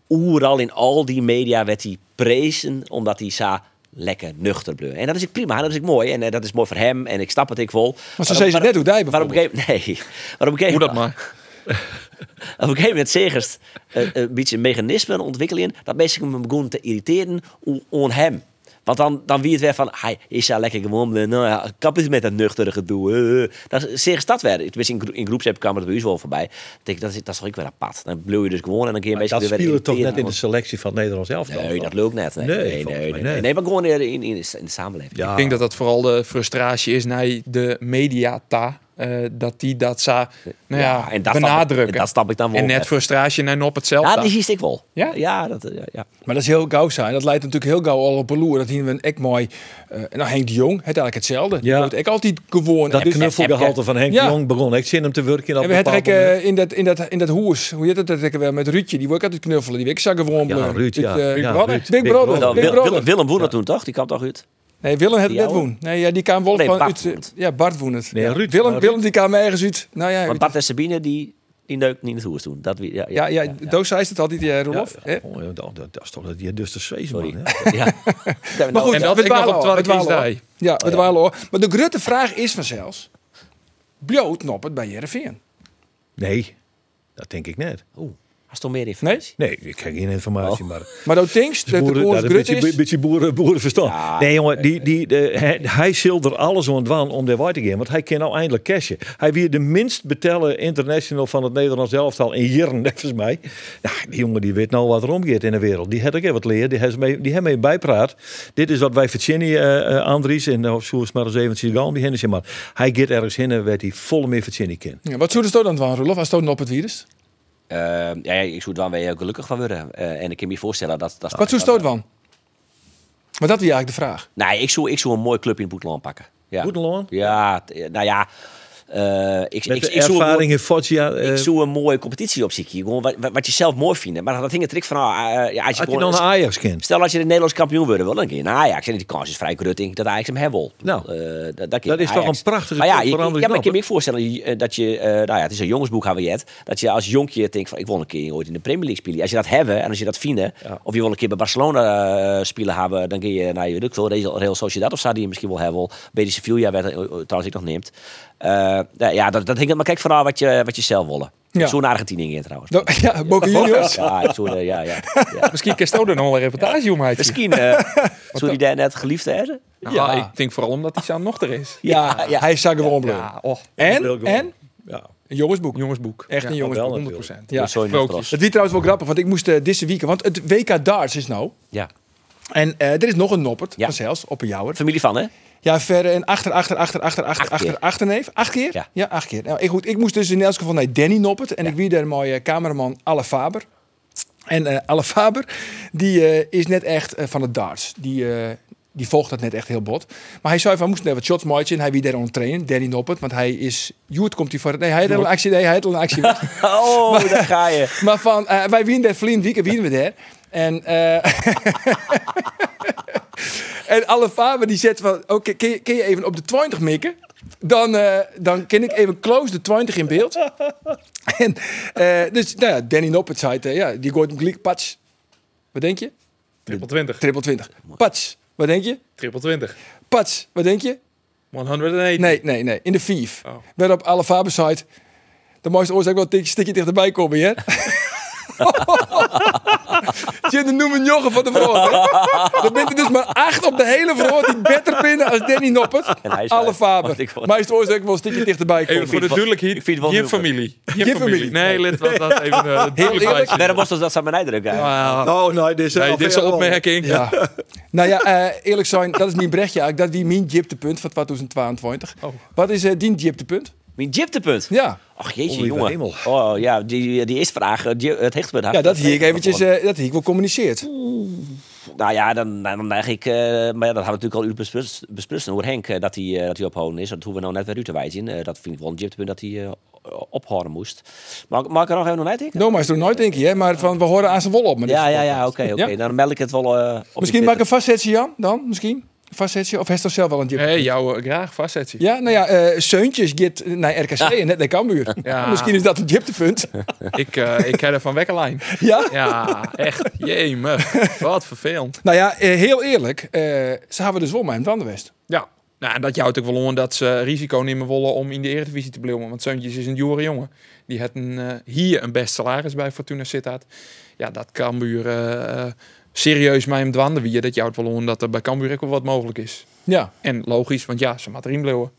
Speaker 3: overal in al die media werd hij prezen omdat hij sa lekker nuchter bleu. En dat is ik prima, dat is ik mooi. En eh, dat is mooi voor hem en ik snap het ik vol. Maar
Speaker 1: zei ze net hoe hij
Speaker 3: Waarom Nee. Waarom
Speaker 4: Hoe dat maar.
Speaker 3: op een gegeven moment zegers eh, een beetje mechanismen ontwikkelen dat mensen hem begonnen te irriteren o- on hem. Want dan, dan wie het weer van, hij is ja lekker gewonnen, nou ja, kap eens met dat nuchtere gedoe. eh. Dan zegers dat weer. Tenminste, in, gro in groepsapp kwam het bij u wel voorbij. Dan Denk, ik, dat, is, dat is toch ook weer apart. Dan bleef je dus gewoon en dan kun je mensen
Speaker 2: Dat
Speaker 3: weer
Speaker 2: spelen toch
Speaker 3: irriteren,
Speaker 2: net in de
Speaker 3: want-
Speaker 2: selectie van het Nederlands elftal.
Speaker 3: Nee, dat lukt net. Nee,
Speaker 2: Nee,
Speaker 3: nee, nee.
Speaker 2: volgens
Speaker 3: nee,
Speaker 2: mij
Speaker 3: nee.
Speaker 2: niet.
Speaker 3: Nee, maar gewoon in, in, in, de, in de samenleving.
Speaker 2: Ja.
Speaker 4: Ik denk dat dat vooral de frustratie is naar de mediata. eh, dat die dat zou nou ja,
Speaker 3: Ja, en dat snap ik-
Speaker 4: benadrukken.
Speaker 3: en dat snap ik dan wel.
Speaker 4: En net frustratie en op hetzelfde.
Speaker 3: Ja, die zie ik wel.
Speaker 4: Ja?
Speaker 3: Ja, dat, eh, ja.
Speaker 1: Maar dat is heel gauw zijn. Dat leidt natuurlijk heel gauw al op een loer. Dat zien we een ek mooi. eh, nou, Henk de Jong, het eigenlijk hetzelfde.
Speaker 2: Ja.
Speaker 1: Ja. Dat ik altijd gewoon.
Speaker 2: Dat
Speaker 1: Dus-
Speaker 2: knuffelgehalte van Henk
Speaker 1: Ja.
Speaker 2: de Jong begon. Ik zin hem te werken in dat
Speaker 1: En we hadden
Speaker 2: bepaald
Speaker 1: ook, eh,
Speaker 2: moment.
Speaker 1: in dat, in dat, in dat hoes, hoe heet dat, dat ik wel met Ruudje, die wil ik altijd knuffelen. Die wil ik zag gewoon
Speaker 2: Ja, Ruud, ja.
Speaker 1: Ik, eh,
Speaker 2: Ja,
Speaker 1: Big Brother.
Speaker 2: Ruud.
Speaker 1: Big
Speaker 2: Oh, Big
Speaker 1: Brother.
Speaker 3: Nou,
Speaker 2: Brother.
Speaker 1: Big
Speaker 3: Wil-
Speaker 1: Brother.
Speaker 3: Wil- Willem Woener toen toch? Die kwam toch uit?
Speaker 1: Nee, Willem had het
Speaker 3: Die
Speaker 1: net
Speaker 3: oude?
Speaker 1: woon. Nee, ja, die kwam wel
Speaker 3: Nee,
Speaker 1: van
Speaker 3: Bart
Speaker 1: uit- eh,
Speaker 3: woont.
Speaker 1: Ja, Bart woon het.
Speaker 2: Nee,
Speaker 1: Ja.
Speaker 2: Ruud.
Speaker 1: Willem,
Speaker 2: Maar
Speaker 1: Willem die kwam ergens uit. Nou ja,
Speaker 3: Want
Speaker 1: uit-
Speaker 3: Bart en Sabine, die, die neuken niet in het hoer toen. Dat, wie- ja, ja,
Speaker 1: ja, ja, Doos zei het altijd, ja, Rolof.
Speaker 2: Ja, ja. Oh, ja, dat, dat- dat is toch dat je dus de Zweesman.
Speaker 3: eh, Sorry.
Speaker 2: hè?
Speaker 3: Ja. nou,
Speaker 1: Maar goed,
Speaker 4: En dat
Speaker 1: we
Speaker 4: ik nog
Speaker 1: dwalen
Speaker 4: op
Speaker 1: al, we
Speaker 4: Twarre
Speaker 1: dwalen al.
Speaker 4: Kiesdij.
Speaker 1: Ja, we dwalen al. Maar de grote vraag is vanzelfs, bloot Noppert bij Jereveen?
Speaker 2: Nee, dat denk ik net.
Speaker 3: Als toch meer informatie?
Speaker 1: Nee?
Speaker 2: Nee, ik krijg geen informatie,
Speaker 3: Oh.
Speaker 2: maar...
Speaker 1: Maar dat denkst
Speaker 2: Het
Speaker 1: dat de
Speaker 2: is Dus boeren- nou,
Speaker 1: oorlog
Speaker 2: dat is
Speaker 1: grut
Speaker 2: een beetje,
Speaker 1: is?
Speaker 2: beetje boeren, boerenverstand. nee, jongen, die, die, de, hij, hij zult er alles aan doen om daar waar te gaan. Want hij kan nou eindelijk cashen. Hij weer de minst betellen international van het Nederlands elftal in jaren, volgens mij. Nou, die jongen die weet nou wat er omgeeft in de wereld. Die had ik even wat leren. Die heeft mee, die heeft mee bijpraat. Dit is wat wij verzinnen, eh eh, Andries. En nou, zo is het maar eens even zien gaan. Die hennen ze maar. Hij gaat ergens heen en werd hij vol meer verzinnen kan.
Speaker 1: Ja, wat zouden ze dan doen, Rolof, als het Noppert wierst?
Speaker 3: Eh, ja, ja, ik zou er wel weer heel gelukkig van worden. Eh, en ik kan me voorstellen dat... dat
Speaker 1: Wat zoest stoot van? Maar dat was eigenlijk de vraag.
Speaker 3: Nee, ik zou, ik zou een mooi club in Boeteland pakken. Ja.
Speaker 2: Boeteland?
Speaker 3: Ja, t- nou ja. eh, ik,
Speaker 2: Met
Speaker 3: ik,
Speaker 2: de
Speaker 3: ik zou een mooi-
Speaker 2: ervaring in Foggia. eh,
Speaker 3: ik zoe een mooie competitie op zich. Gewoon wat, wat- wat je zelf mooi vindt. Maar dat hing het trick van. ah, eh, ja, als je
Speaker 2: Had je
Speaker 3: gewoon-
Speaker 2: dan een Ajax kent?
Speaker 3: Stel als je de Nederlands kampioen worden wil, dan kun je naar Ajax. En die kans is vrij groot, denk ik, dat Ajax hem hebben wil.
Speaker 2: Nou,
Speaker 3: Eh, dat, kun je
Speaker 2: dat is
Speaker 3: naar
Speaker 2: toch
Speaker 3: Ajax.
Speaker 2: een prachtige
Speaker 3: Maar ja,
Speaker 2: club
Speaker 3: je-
Speaker 2: voor Andries
Speaker 3: Ja, maar ik kan
Speaker 2: Noppert.
Speaker 3: me ook voorstellen je- eh, dat je, eh, nou ja, het is een jongensboek hebben we het, dat je als jonkje denkt van, ik wil een keer ooit in de Premier League spelen. Als je dat hebben en als je dat vinden, of je wil een keer bij Barcelona eh, spelen hebben, dan kun je naar je veel Real, Real Sociedad of zou die je misschien wel hebben. Bij de Sevilla werd eh, eh, trouwens ik nog neemt. Eh, nou ja, dat, dat hing maar kijk vanaf wat je, wat je zelf wil.
Speaker 1: Ja.
Speaker 3: Zo'n Argentinië in trouwens.
Speaker 2: Nou,
Speaker 1: Do- ja, Boca Juniors.
Speaker 3: Ja, ik zou, eh, ja, ja, ja.
Speaker 4: Misschien kerst ook er nog wel een reportage om uit.
Speaker 3: Misschien eh, zou die daar net geliefde hebben.
Speaker 4: Nou, ik denk vooral omdat die Sjaan nog er is.
Speaker 1: Ja, hij zag gewoon bleu.
Speaker 4: Ja, oh,
Speaker 1: En, en,
Speaker 2: ja,
Speaker 1: een jongensboek.
Speaker 4: jongensboek.
Speaker 1: Echt een
Speaker 2: wel
Speaker 1: jongensboek.
Speaker 2: natuurlijk.
Speaker 1: Ja.
Speaker 3: Dus zo in het
Speaker 4: Sprookjes.
Speaker 3: gras.
Speaker 1: Het is trouwens wel grappig, want ik moest eh deze weekend, want het WK darts is nou.
Speaker 3: Ja.
Speaker 1: En eh, er is nog een noppert,
Speaker 3: Ja.
Speaker 1: van zelfs, op een jouwer.
Speaker 3: Familie van, hè?
Speaker 1: Ja, verder en achter, achter, achter, achter, achter,
Speaker 3: Acht keer.
Speaker 1: achter, achter, neef. Acht keer?
Speaker 3: Ja.
Speaker 1: acht keer. Nou, ik, goed, ik moest dus in elk geval naar Danny Noppert. En ik wie daar een mooie cameraman Alle Faber. En eh Alle Faber, die eh, is net echt eh, van het darts. Die, eh, die volgt dat net echt heel bot. Maar hij zei van, moest net wat shots mooitje. En hij wie daar aan het trainen, Danny Noppert. Want hij is, Joert komt hij voor het... Nee, hij had al een actie, nee, hij had al een actie.
Speaker 3: Oh, daar ga je.
Speaker 1: maar van, eh, wij winnen dat verleden weekend, winnen we daar. En, eh en alle vader die zet van, "Oh, oké, kun, je- kun je even op de 20 mikken? Dan, eh, dan ken ik even close de 20 in beeld. en, eh, dus nou ja, Danny Noppert zei het, eh, ja, die gooit hem gelijk, pats. Wat denk je?
Speaker 4: Triple 20.
Speaker 1: Triple 20. Pats, wat denk je?
Speaker 4: Triple 20.
Speaker 1: Pats, wat denk je?
Speaker 4: 108.
Speaker 1: Nee, nee, nee. In de Vief.
Speaker 4: Oh.
Speaker 1: Werd op alle Faber site. De mooiste oorzaak wel een stukje dichterbij komen, hè? Je de noemen Jochen van de Vroort. Dan bent er dus maar acht op de hele Vroort die beter binnen als Danny Noppert.
Speaker 3: En hij is
Speaker 1: Alle
Speaker 3: uit.
Speaker 1: Faber.
Speaker 3: Want ik word-
Speaker 1: Maar is de oorzaak wel een stukje dichterbij
Speaker 4: Even
Speaker 1: komen.
Speaker 4: voor de duidelijkheid.
Speaker 3: ik vind het wel
Speaker 4: Je
Speaker 3: heel goed.
Speaker 4: familie.
Speaker 1: Je
Speaker 4: Je
Speaker 1: familie.
Speaker 4: familie. Nee, let wat dat even eh, duidelijk bij
Speaker 1: eerlijk.
Speaker 4: zeggen.
Speaker 3: Daarom was dat dat ze aan mijn uitdrukken.
Speaker 4: Ah,
Speaker 2: Oh, nee, dit is,
Speaker 4: nee, dit is een opmerking.
Speaker 1: Ja. Nou ja, eh, eerlijk zijn, dat is mijn brechtje eigenlijk. Dat is mijn dieptepunt van 2022.
Speaker 4: Oh.
Speaker 1: Wat is eh die dieptepunt?
Speaker 3: Mijn dieptepunt.
Speaker 1: Ja,
Speaker 3: Ach jeetje,
Speaker 2: Oliver
Speaker 3: jongen.
Speaker 2: Hemel.
Speaker 3: Oh ja, die, die eerste vraag, eh, die, het hecht me het hart.
Speaker 1: ja dat hier ik
Speaker 3: heeft
Speaker 1: eventjes,
Speaker 3: me
Speaker 1: eh, dat hier ik wel communiceerd.
Speaker 3: gewoon. Nou ja, dan, dan dan neig ik. eh, maar ja, dat hadden we natuurlijk al u besprust, besprust over Henk eh, dat hij, eh, dat hij ophouden is. Dat hoeven we nou net weer u te wijzen. Eh, dat vind ik wel een dieptepunt dat hij eh, ophouden moest. Mag, mag ik er nog even naar uitdenken?
Speaker 1: No, Nou, maar is er nooit denk je, hè? Maar van, we horen aan zijn wol op. Maar dit
Speaker 3: Ja,
Speaker 1: is-
Speaker 3: ja, ja, oké, oké.
Speaker 1: Ja.
Speaker 3: Dan meld ik het wel eh, op.
Speaker 1: Misschien
Speaker 3: de
Speaker 1: maak ik
Speaker 3: Twitter.
Speaker 1: een vastzetje, Jan, dan? Misschien? Een Vastzetje? Of heeft er zelf wel een dip?
Speaker 4: Hey, jou eh, graag vastzetten.
Speaker 1: Ja, nou ja, eh, Seuntjes gaat naar RKC en net naar Cambuur.
Speaker 4: Ja.
Speaker 1: Misschien is dat een diptepunt.
Speaker 4: Ik, eh, ik heb er van wekkerlijn.
Speaker 1: ja?
Speaker 4: Ja, echt. Jemig. Wat vervelend.
Speaker 1: Nou ja, eh, heel eerlijk, eh, ze hebben dus wel maar in het West.
Speaker 4: Ja. Nou, en dat houdt ook wel om dat ze risico nemen willen om in de Eredivisie te blijven. Want Zeuntjes is een jure jongen. Die had een, eh, hier een best salaris bij Fortuna Sittard. Ja, dat Cambuur eh, eh, serieus mij hem dwanden wie je. Dat houdt wel om dat er bij Cambuur ook wel wat mogelijk is.
Speaker 1: Ja,
Speaker 4: En logisch, want ja, ze maakt erin blijven.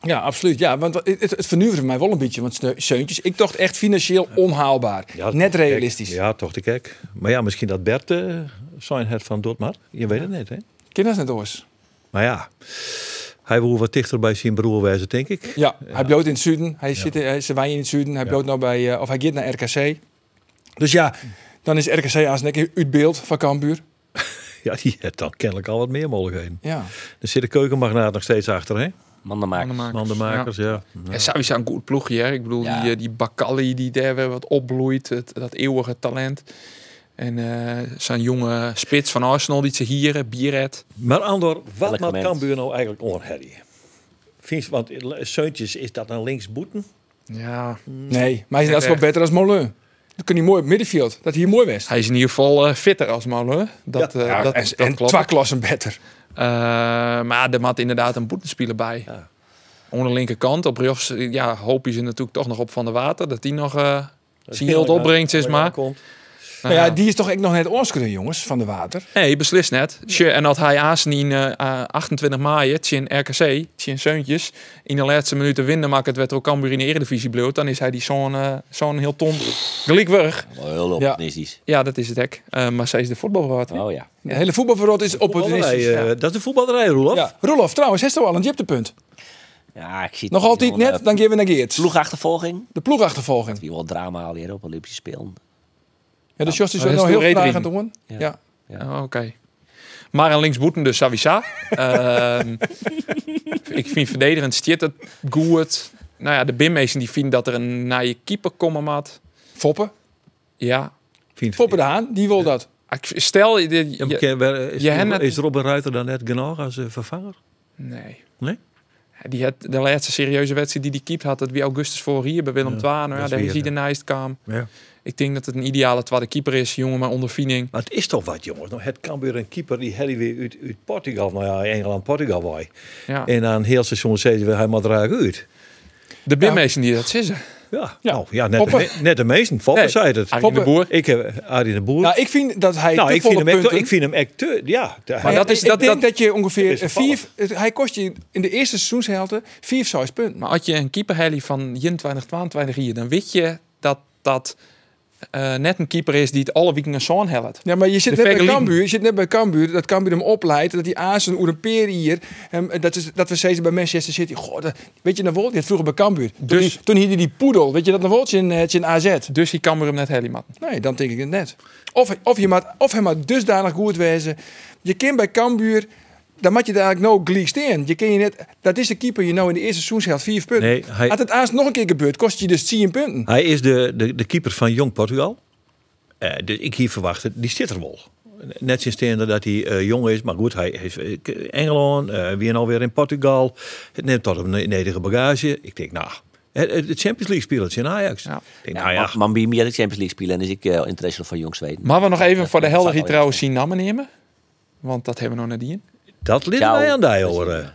Speaker 1: ja, absoluut. Ja, want het, het, het vernuverde mij wel een beetje. Want Sneu- Seuntjes, ik dacht echt financieel onhaalbaar.
Speaker 2: Ja,
Speaker 1: net
Speaker 2: toch te
Speaker 1: realistisch.
Speaker 2: gek. Ja, toch te gek. Maar ja, misschien dat Bert eh, zijn het van Dortmund. Je weet het niet, hè?
Speaker 1: Ken dat net, Oors?
Speaker 2: Maar ja, Hij wil wat dichter bij zijn broer wijzen, denk ik.
Speaker 1: Ja, hij bloot in het zuiden. Hij zit in, hij- ze wijnen in het zuiden. Hij bloot nou bij, eh, of hij gaat naar RKC. Dus ja, dan is RKC als nek uit beeld van Cambuur.
Speaker 2: Ja, die heeft dan kennelijk al wat meer mogelijkheden.
Speaker 1: Ja.
Speaker 2: Er zit de keukenmagnaat nog steeds achter, hè?
Speaker 3: Mandenmakers.
Speaker 4: Mandenmakers.
Speaker 2: Mandenmakers, ja.
Speaker 4: En Savi is een goed ploegje. Hè? Ik bedoel,
Speaker 3: Ja.
Speaker 4: die, eh, die Bakali die daar weer wat opbloeit. Het, dat eeuwige talent. En eh, zijn jonge spits van Arsenal die ze hier, eh, Bieret.
Speaker 2: Maar Andor, wat
Speaker 3: Elk
Speaker 2: maakt
Speaker 3: moment.
Speaker 2: Cambuur nou eigenlijk onherrie? Vind je, want Seuntjes, is dat dan linksboeten?
Speaker 4: Ja,
Speaker 1: Nee, maar hij is net wel
Speaker 4: Echt.
Speaker 1: beter als Molen. Dan kun je mooi op middenveld. Dat hier mooi was.
Speaker 4: hij is in ieder geval eh, fitter als Molen. Dat, eh,
Speaker 1: Ja,
Speaker 4: dat,
Speaker 1: en
Speaker 4: dat
Speaker 1: en
Speaker 4: klopt.
Speaker 1: twee klassen beter.
Speaker 4: Eh, maar er moet inderdaad een boetenspeler bij.
Speaker 2: Ja.
Speaker 4: Onder de linkerkant. Op rechts eh, ja, hoop je ze natuurlijk toch nog op Van der Water. Dat die nog eh zijn
Speaker 2: heel
Speaker 4: geld opbrengt, is maar.
Speaker 2: Komt.
Speaker 1: Nou ja, die is toch echt nog net oorskunnen, jongens, van de water.
Speaker 4: Nee, beslist net. Tje, en dat hij aansnien eh, eh, 28 maaien, in RKC, in Seuntjes, in de laatste minuten winnen maakt het werd ook Cambuur in de Eredivisie bloot, dan is hij die zo'n eh, zo'n heel ton gelijkweg.
Speaker 3: Wel Heel
Speaker 1: Ja.
Speaker 3: optimistisch.
Speaker 4: Ja, dat is het hek. Eh, maar zij is de voetbalraad.
Speaker 3: Oh ja.
Speaker 1: De hele voetbalverrot is
Speaker 2: Voetballerij,
Speaker 1: opportunistisch.
Speaker 2: eh, Dat is de voetballerij, Roelof.
Speaker 1: Ja, Rolof, trouwens, heeft al een jiptepunt.
Speaker 3: Ja, ik zie
Speaker 1: Nog
Speaker 3: het niet, eh,
Speaker 1: altijd
Speaker 3: jongen.
Speaker 1: net, dan gaan we naar Geerts.
Speaker 3: Ploegachtervolging.
Speaker 1: De ploegachtervolging.
Speaker 3: Wie wil drama al hier op Olympische Spelen.
Speaker 1: Ja, de Jos is
Speaker 4: dat is
Speaker 1: nog heel
Speaker 4: door
Speaker 1: graag aan
Speaker 4: Redring.
Speaker 1: het doen.
Speaker 3: Ja.
Speaker 1: Ja.
Speaker 4: Oh, Oké. Maar een linksboeten dus Savisa. Ehm, ik vind verdedigend Stjit het goed. Nou ja, de Bimmezen die vinden dat er een naar je keeper komen maat.
Speaker 1: Foppen.
Speaker 4: Ja.
Speaker 2: Vind-
Speaker 1: Foppen de Haan, die wil dat.
Speaker 4: Ik- Stel, je- je-
Speaker 2: Ja, maar ken- wer- is,
Speaker 4: je hen net-
Speaker 2: is Robin Ruiter dan net genoeg als eh, vervanger?
Speaker 4: Nee.
Speaker 2: Nee?
Speaker 4: Die had de laatste serieuze wedstrijd die die keept had, dat wie Augustus voor hier bij
Speaker 2: Ja,
Speaker 4: Willem II. Nou
Speaker 2: dat
Speaker 4: ja,
Speaker 2: is
Speaker 4: daar
Speaker 2: weer,
Speaker 4: is hij de nijst kwam.
Speaker 2: Ja.
Speaker 4: Ik denk dat het een ideale tweede keeper is, jongen maar ondervinding.
Speaker 2: Maar het is toch wat, jongens. Nou, het kan weer een keeper die Harry weer uit, uit Portugal, nou ja, Engeland, Portugal wij.
Speaker 4: Ja.
Speaker 2: En aan heel seizoen zeiden we, hij moet eruit uit.
Speaker 4: De Bimmezen die dat zissen.
Speaker 2: Ja,
Speaker 1: Ja.
Speaker 2: nou, ja net, de,
Speaker 1: Poppen.
Speaker 2: me- net de meesten. Foppen
Speaker 4: Nee,
Speaker 2: zei het.
Speaker 4: Arie de Boer.
Speaker 2: Ik heb Arie de Boer.
Speaker 1: Nou, ik vind dat hij
Speaker 2: Nou,
Speaker 1: te
Speaker 2: ik
Speaker 1: volle
Speaker 2: vind, hem echt,
Speaker 1: punten-
Speaker 2: ik vind hem echt te... Ja, te-
Speaker 1: Maar
Speaker 4: Maar
Speaker 1: dat
Speaker 4: dat
Speaker 1: is,
Speaker 4: is-
Speaker 1: ik
Speaker 4: dat-
Speaker 1: denk dat,
Speaker 4: dat-
Speaker 1: je ongeveer
Speaker 2: is
Speaker 1: eh, vier, het- hij kost je in de eerste seizoenshelte vier, zes punten.
Speaker 4: Maar had je een keeper Helly van 21, 22 hier, dan weet je dat dat eh, net een keeper is die het alle weken zo'n helpt.
Speaker 1: Ja, maar je zit,
Speaker 4: De
Speaker 1: net bij
Speaker 4: vergeliepen.
Speaker 1: Cambuur, je zit net bij Cambuur, dat Cambuur hem opleidt, dat die Azen, Oerempeer hier, hem, eh, dat, is, dat we steeds bij Manchester City, goh, dat- weet je, naar Wolt, je had vroeger bij Cambuur. Toen,
Speaker 4: Dus-
Speaker 1: hij- toen hielden die poedel, weet je dat naar Wolt in, eh, in AZ?
Speaker 4: Dus die kan weer hem net Helly matten.
Speaker 1: Nee, dan denk ik het net. Of, of, je maakt, of hij maakt dusdanig goed wezen, je kind bij Cambuur, dan maak je daar eigenlijk nou gleekst in. Je ken je net, dat is de keeper je nou in de eerste seizoenshelft vier punten.
Speaker 2: Nee, hij-
Speaker 1: Had het Aas nog een keer gebeurd, kost het je dus 10 punten.
Speaker 2: Hij is de, de, de keeper van Jong Portugal. Eh, dus ik hier verwacht, het, die zit er wel. Net sinds tenen dat hij eh, jong is. Maar goed, hij is eh, k- Engeland, eh weer en alweer in Portugal. Het neemt tot een nedige bagage. Ik denk, nou, het, het Champions League spelertje in Ajax.
Speaker 4: Ja.
Speaker 2: Ik denk,
Speaker 3: Ja,
Speaker 2: nou ja,
Speaker 3: Ma- Mambimi had ik Champions League spelen en is ik eh, international van Jong Zweden.
Speaker 4: Maar we nog even voor de
Speaker 3: dat
Speaker 4: helder
Speaker 3: zou-
Speaker 4: trouwens zien namen nemen. Want dat hebben we nog nadien.
Speaker 2: dat lid
Speaker 3: Ciao.
Speaker 2: wij aan die horen.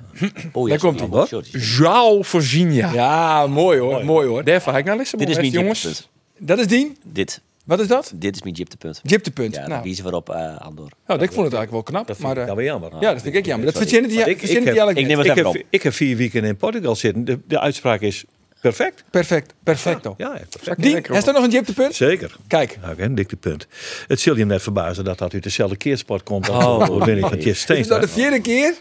Speaker 3: Oh, ja,
Speaker 1: Daar komt
Speaker 3: sorry,
Speaker 2: ie, hoor.
Speaker 3: sorry.
Speaker 4: Joao Virginia.
Speaker 1: Ja, mooi hoor, mooi, hoor.
Speaker 4: Daarvoor ga ik naar Lissabon,
Speaker 3: Dit is
Speaker 4: hè,
Speaker 3: mijn
Speaker 4: jongens.
Speaker 3: jiptepunt.
Speaker 1: Dat is Dien.
Speaker 3: Dit,
Speaker 1: Wat is dat?
Speaker 3: dit is mijn jiptepunt.
Speaker 1: Jiptepunt.
Speaker 3: Ja,
Speaker 1: nou,
Speaker 3: nou. wiezen waarop eh Andor.
Speaker 1: nou, ik vond het eigenlijk wel knap.
Speaker 2: Dat vind
Speaker 1: maar,
Speaker 2: ik
Speaker 1: eh,
Speaker 2: dan weer jammer.
Speaker 1: ja, dat vind ik ook jammer. Dat
Speaker 3: Sorry.
Speaker 1: verzin het
Speaker 2: Want
Speaker 1: hier-
Speaker 2: ik,
Speaker 1: verzin
Speaker 2: ik,
Speaker 1: het
Speaker 2: heb,
Speaker 1: hier eigenlijk
Speaker 3: ik
Speaker 1: net.
Speaker 3: neem het
Speaker 2: ik,
Speaker 3: even
Speaker 2: heb,
Speaker 3: op.
Speaker 2: ik heb vier weken in Portugal zitten. De, de uitspraak is perfect.
Speaker 1: Perfect, perfecto.
Speaker 2: Ja, ja, perfect.
Speaker 1: Dien, is er nog een jiptepunt?
Speaker 2: Zeker.
Speaker 1: Kijk.
Speaker 2: Nou, een dikte punt. Het zul je net verbazen dat dat uit dezelfde keersport komt als oh, de overwinning van Tjest
Speaker 1: Dit is nou de vierde keer.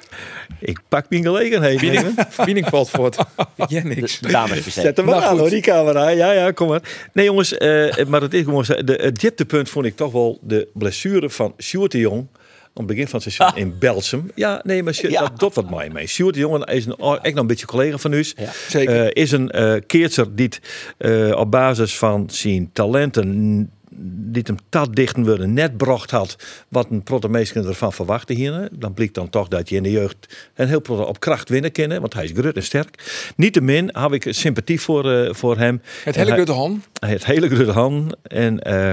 Speaker 2: Ik pak mijn gelegenheid. jongen.
Speaker 4: Wiening valt voort. Ja, niks.
Speaker 3: De dames per se.
Speaker 2: Zet hem maar aan, hoor, die camera. Ja, ja, kom maar. Nee, jongens, eh, maar het is gewoon zo. De, het dieptepunt vond ik toch wel de blessure van Sjoerd de Jong. Aan het begin van het seizoen in Belsum. Ja, nee, maar Sjoerd,
Speaker 3: Ja.
Speaker 2: dat doet wat mij mee. Sjoerd de Jong is een, echt nog een beetje collega van u.
Speaker 1: zeker.
Speaker 2: Eh, is een eh keertser die het, eh, op basis van zijn talenten die het hem dat dichten worden net bracht had wat een protte meesten ervan verwachten hier. Dan blijkt dan toch dat je in de jeugd een heel protte op kracht winnen kennen, want hij is grut en sterk. Niettemin heb ik sympathie voor, eh, voor hem.
Speaker 1: Het
Speaker 2: En
Speaker 1: hele
Speaker 2: hij-
Speaker 1: grote hand.
Speaker 2: het hele grote hand. En eh,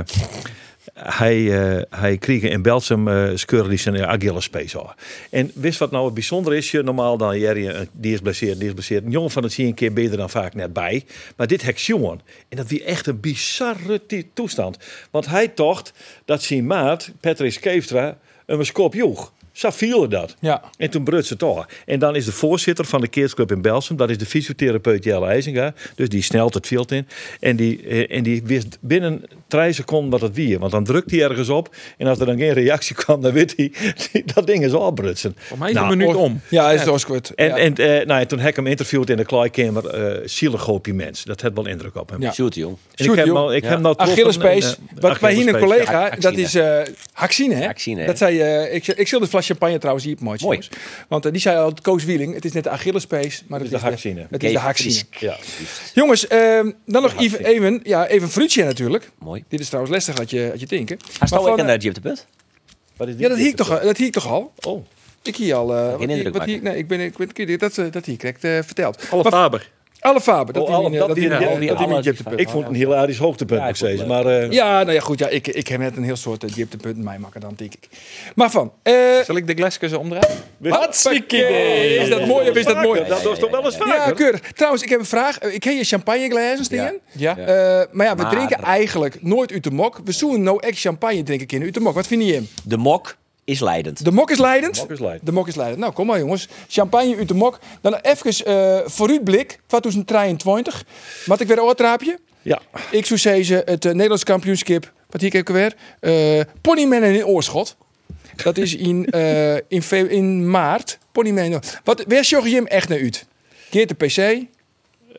Speaker 2: hij, eh, hij kreeg in Belsum eh scheuren die zijn Achillespees aan. En wist wat nou het bijzonder is? Je, normaal dan, Jerry, eh, die is blesseerd, die is blesseerd. Een jongen van het zie je een keer beter dan vaak net bij. Maar dit hek jongen. En dat wie echt een bizarre ti- toestand. Want hij tocht dat zijn maat, Patrick Keeftra, hem een skop joeg. Zo vielen dat.
Speaker 1: Ja.
Speaker 2: En toen brutste het toch. En dan is de voorzitter van de Kids Club in Belsum, dat is de fysiotherapeut Jelle IJzinga. Dus die snelt het veld in. En die, eh, en die wist binnen drie seconden wat het wie. Want dan drukt hij ergens op. En als er dan geen reactie kwam, dan weet hij dat ding is afbrutsen.
Speaker 4: Voor mij is het een minuut om.
Speaker 1: Ja, is Osquart.
Speaker 2: En,
Speaker 1: ja.
Speaker 2: en eh, nou ja, toen heb ik hem interviewd in de kleikamer, eh zielig hoopje mens. Dat had wel indruk op hem.
Speaker 1: Ja.
Speaker 3: Shoot, jong.
Speaker 2: En ik heb hem al, ik
Speaker 3: Ja.
Speaker 2: heb hem nou troffen,
Speaker 1: Achillespees.
Speaker 2: en, eh,
Speaker 1: Wat bij hier een
Speaker 2: Achillespees, ja.
Speaker 1: collega,
Speaker 3: ja.
Speaker 1: dat is eh Haxine, hè?
Speaker 3: Haxine, hè?
Speaker 1: Dat zei, eh, ik, ik zul de fles champagne trouwens hier op mooi.
Speaker 3: Mooi.
Speaker 1: jongens. Want eh, die zei al, Koos Wieling, het is net de Achillespees, maar het
Speaker 2: de
Speaker 1: is
Speaker 2: Haxine.
Speaker 1: Het is de
Speaker 3: Kees
Speaker 1: Haxine.
Speaker 3: Fries.
Speaker 2: Ja.
Speaker 1: Jongens, eh, dan nog even, even, ja, even Fruitje natuurlijk.
Speaker 3: Mooi.
Speaker 1: Dit is trouwens lastig had je, had je denken.
Speaker 3: Hij staat
Speaker 1: Maar
Speaker 3: ook
Speaker 1: van,
Speaker 3: in de Jip de Punt.
Speaker 2: Wat is die
Speaker 1: Ja, dat hiek
Speaker 2: eerste
Speaker 1: toch, al- dat hiek toch al?
Speaker 2: Oh.
Speaker 1: Ik hier al. eh, wat
Speaker 3: indruk
Speaker 1: hier- wat
Speaker 3: maken.
Speaker 1: hier- nee, ik ben, ik ben, ik- dat, eh, dat hier krijgt verteld.
Speaker 4: Alle Faber.
Speaker 1: Alle Faber.
Speaker 2: Oh,
Speaker 1: Dat
Speaker 2: alle-
Speaker 1: die eh,
Speaker 2: dat
Speaker 1: dat
Speaker 2: die-
Speaker 1: die eh,
Speaker 2: ja,
Speaker 1: dat
Speaker 3: die
Speaker 1: die
Speaker 3: alle-
Speaker 1: niet jipte punt.
Speaker 2: Ik vond het een hilarisch hoogtepunt
Speaker 3: Ja,
Speaker 2: nog
Speaker 3: ik vond
Speaker 2: steeds.
Speaker 3: het
Speaker 2: Maar eh,
Speaker 1: Ja, nou ja, goed. Ja, ik, ik heb net een heel soort eh, dieptepunt in mij maken dan, denk ik. Maar van, eh,
Speaker 4: Zal ik de Gleskes omdraaien?
Speaker 1: Hartstikke Is dat mooi of is dat mooi?
Speaker 2: dat was toch wel eens
Speaker 1: Ja,
Speaker 2: vaker?
Speaker 1: keurig. Trouwens, ik heb een vraag. Eh, Ik heb je champagneglazen staan.
Speaker 4: Ja.
Speaker 1: Eh, maar ja, we
Speaker 3: Maar-
Speaker 1: drinken eigenlijk nooit uit de mok. We zoeken no echt champagne drinken in uit de mok. Wat vind je hem?
Speaker 3: De mok is leidend.
Speaker 1: De mok is leidend.
Speaker 2: Mok is leidend.
Speaker 1: De mok is leidend. Nou, kom maar jongens. Champagne uit de mok. Dan even eh vooruitblik. 2023. Wat ik weer een oortraapje.
Speaker 2: Ja.
Speaker 1: Ik zou zeggen, het eh, Nederlands kampioenschap. Wat hier kijk ik weer? Eh Ponymannen in Oorschot. Dat is in, eh, in, fe- in maart. Ponymannen. Wat, waar zorg je hem echt naar uit? Keert de PC.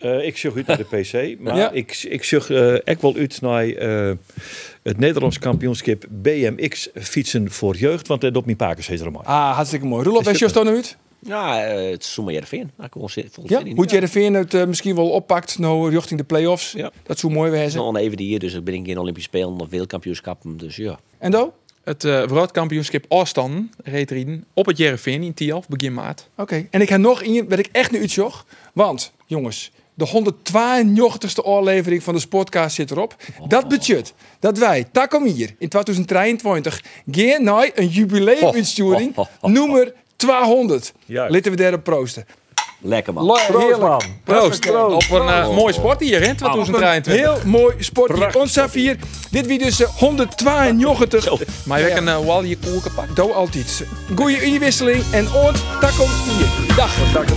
Speaker 2: Eh, ik zoek uit naar de PC. Maar
Speaker 1: Ja.
Speaker 2: ik, ik zoek eh, echt wel uit naar eh, het Nederlands kampioenschap BMX fietsen voor jeugd. Want dat op mijn pakers heet er maar.
Speaker 1: Ah, hartstikke mooi. Roelof, waar zorg je nou uit?
Speaker 3: Nou, eh, het is zomaar Jervin. Nou, kom, volgens
Speaker 1: Ja?
Speaker 3: mij
Speaker 1: Hoe Jereveen het eh, misschien wel oppakt nou richting de play-offs.
Speaker 2: Ja.
Speaker 1: Dat zou mooi
Speaker 3: Het is
Speaker 1: wezen.
Speaker 3: nog even hier, dus ik ben ik in Olympische Spelen of wereldkampioenschappen. Dus ja.
Speaker 1: En Do?
Speaker 4: Het eh wereldkampioenschap Oostanden reed Rieden op het Jereveen in Tialf begin maart.
Speaker 1: Oké. En ik heb nog in, ben ik echt nu uitzog. Want, jongens, de 192ste oorlevering van de Sportcast zit erop. Dat budget dat wij, takom hier, in 2023, gaan naar een jubileumuitsturing,
Speaker 3: Ho, ho, ho, ho.
Speaker 1: nummer 200.
Speaker 2: Juist.
Speaker 1: Laten we daarop proosten.
Speaker 3: Lekker man.
Speaker 1: La- Heerlijk. Proost. Ah,
Speaker 4: Op een eh, mooi sport hier in 2023.
Speaker 1: Heel mooi sport. Ons hier. Dit wie dus eh, 192.
Speaker 4: Maar je hebt eh, een uh, Wally koel gepakt.
Speaker 1: Doe altijd. Goeie inwisseling en ons takom hier. Dag.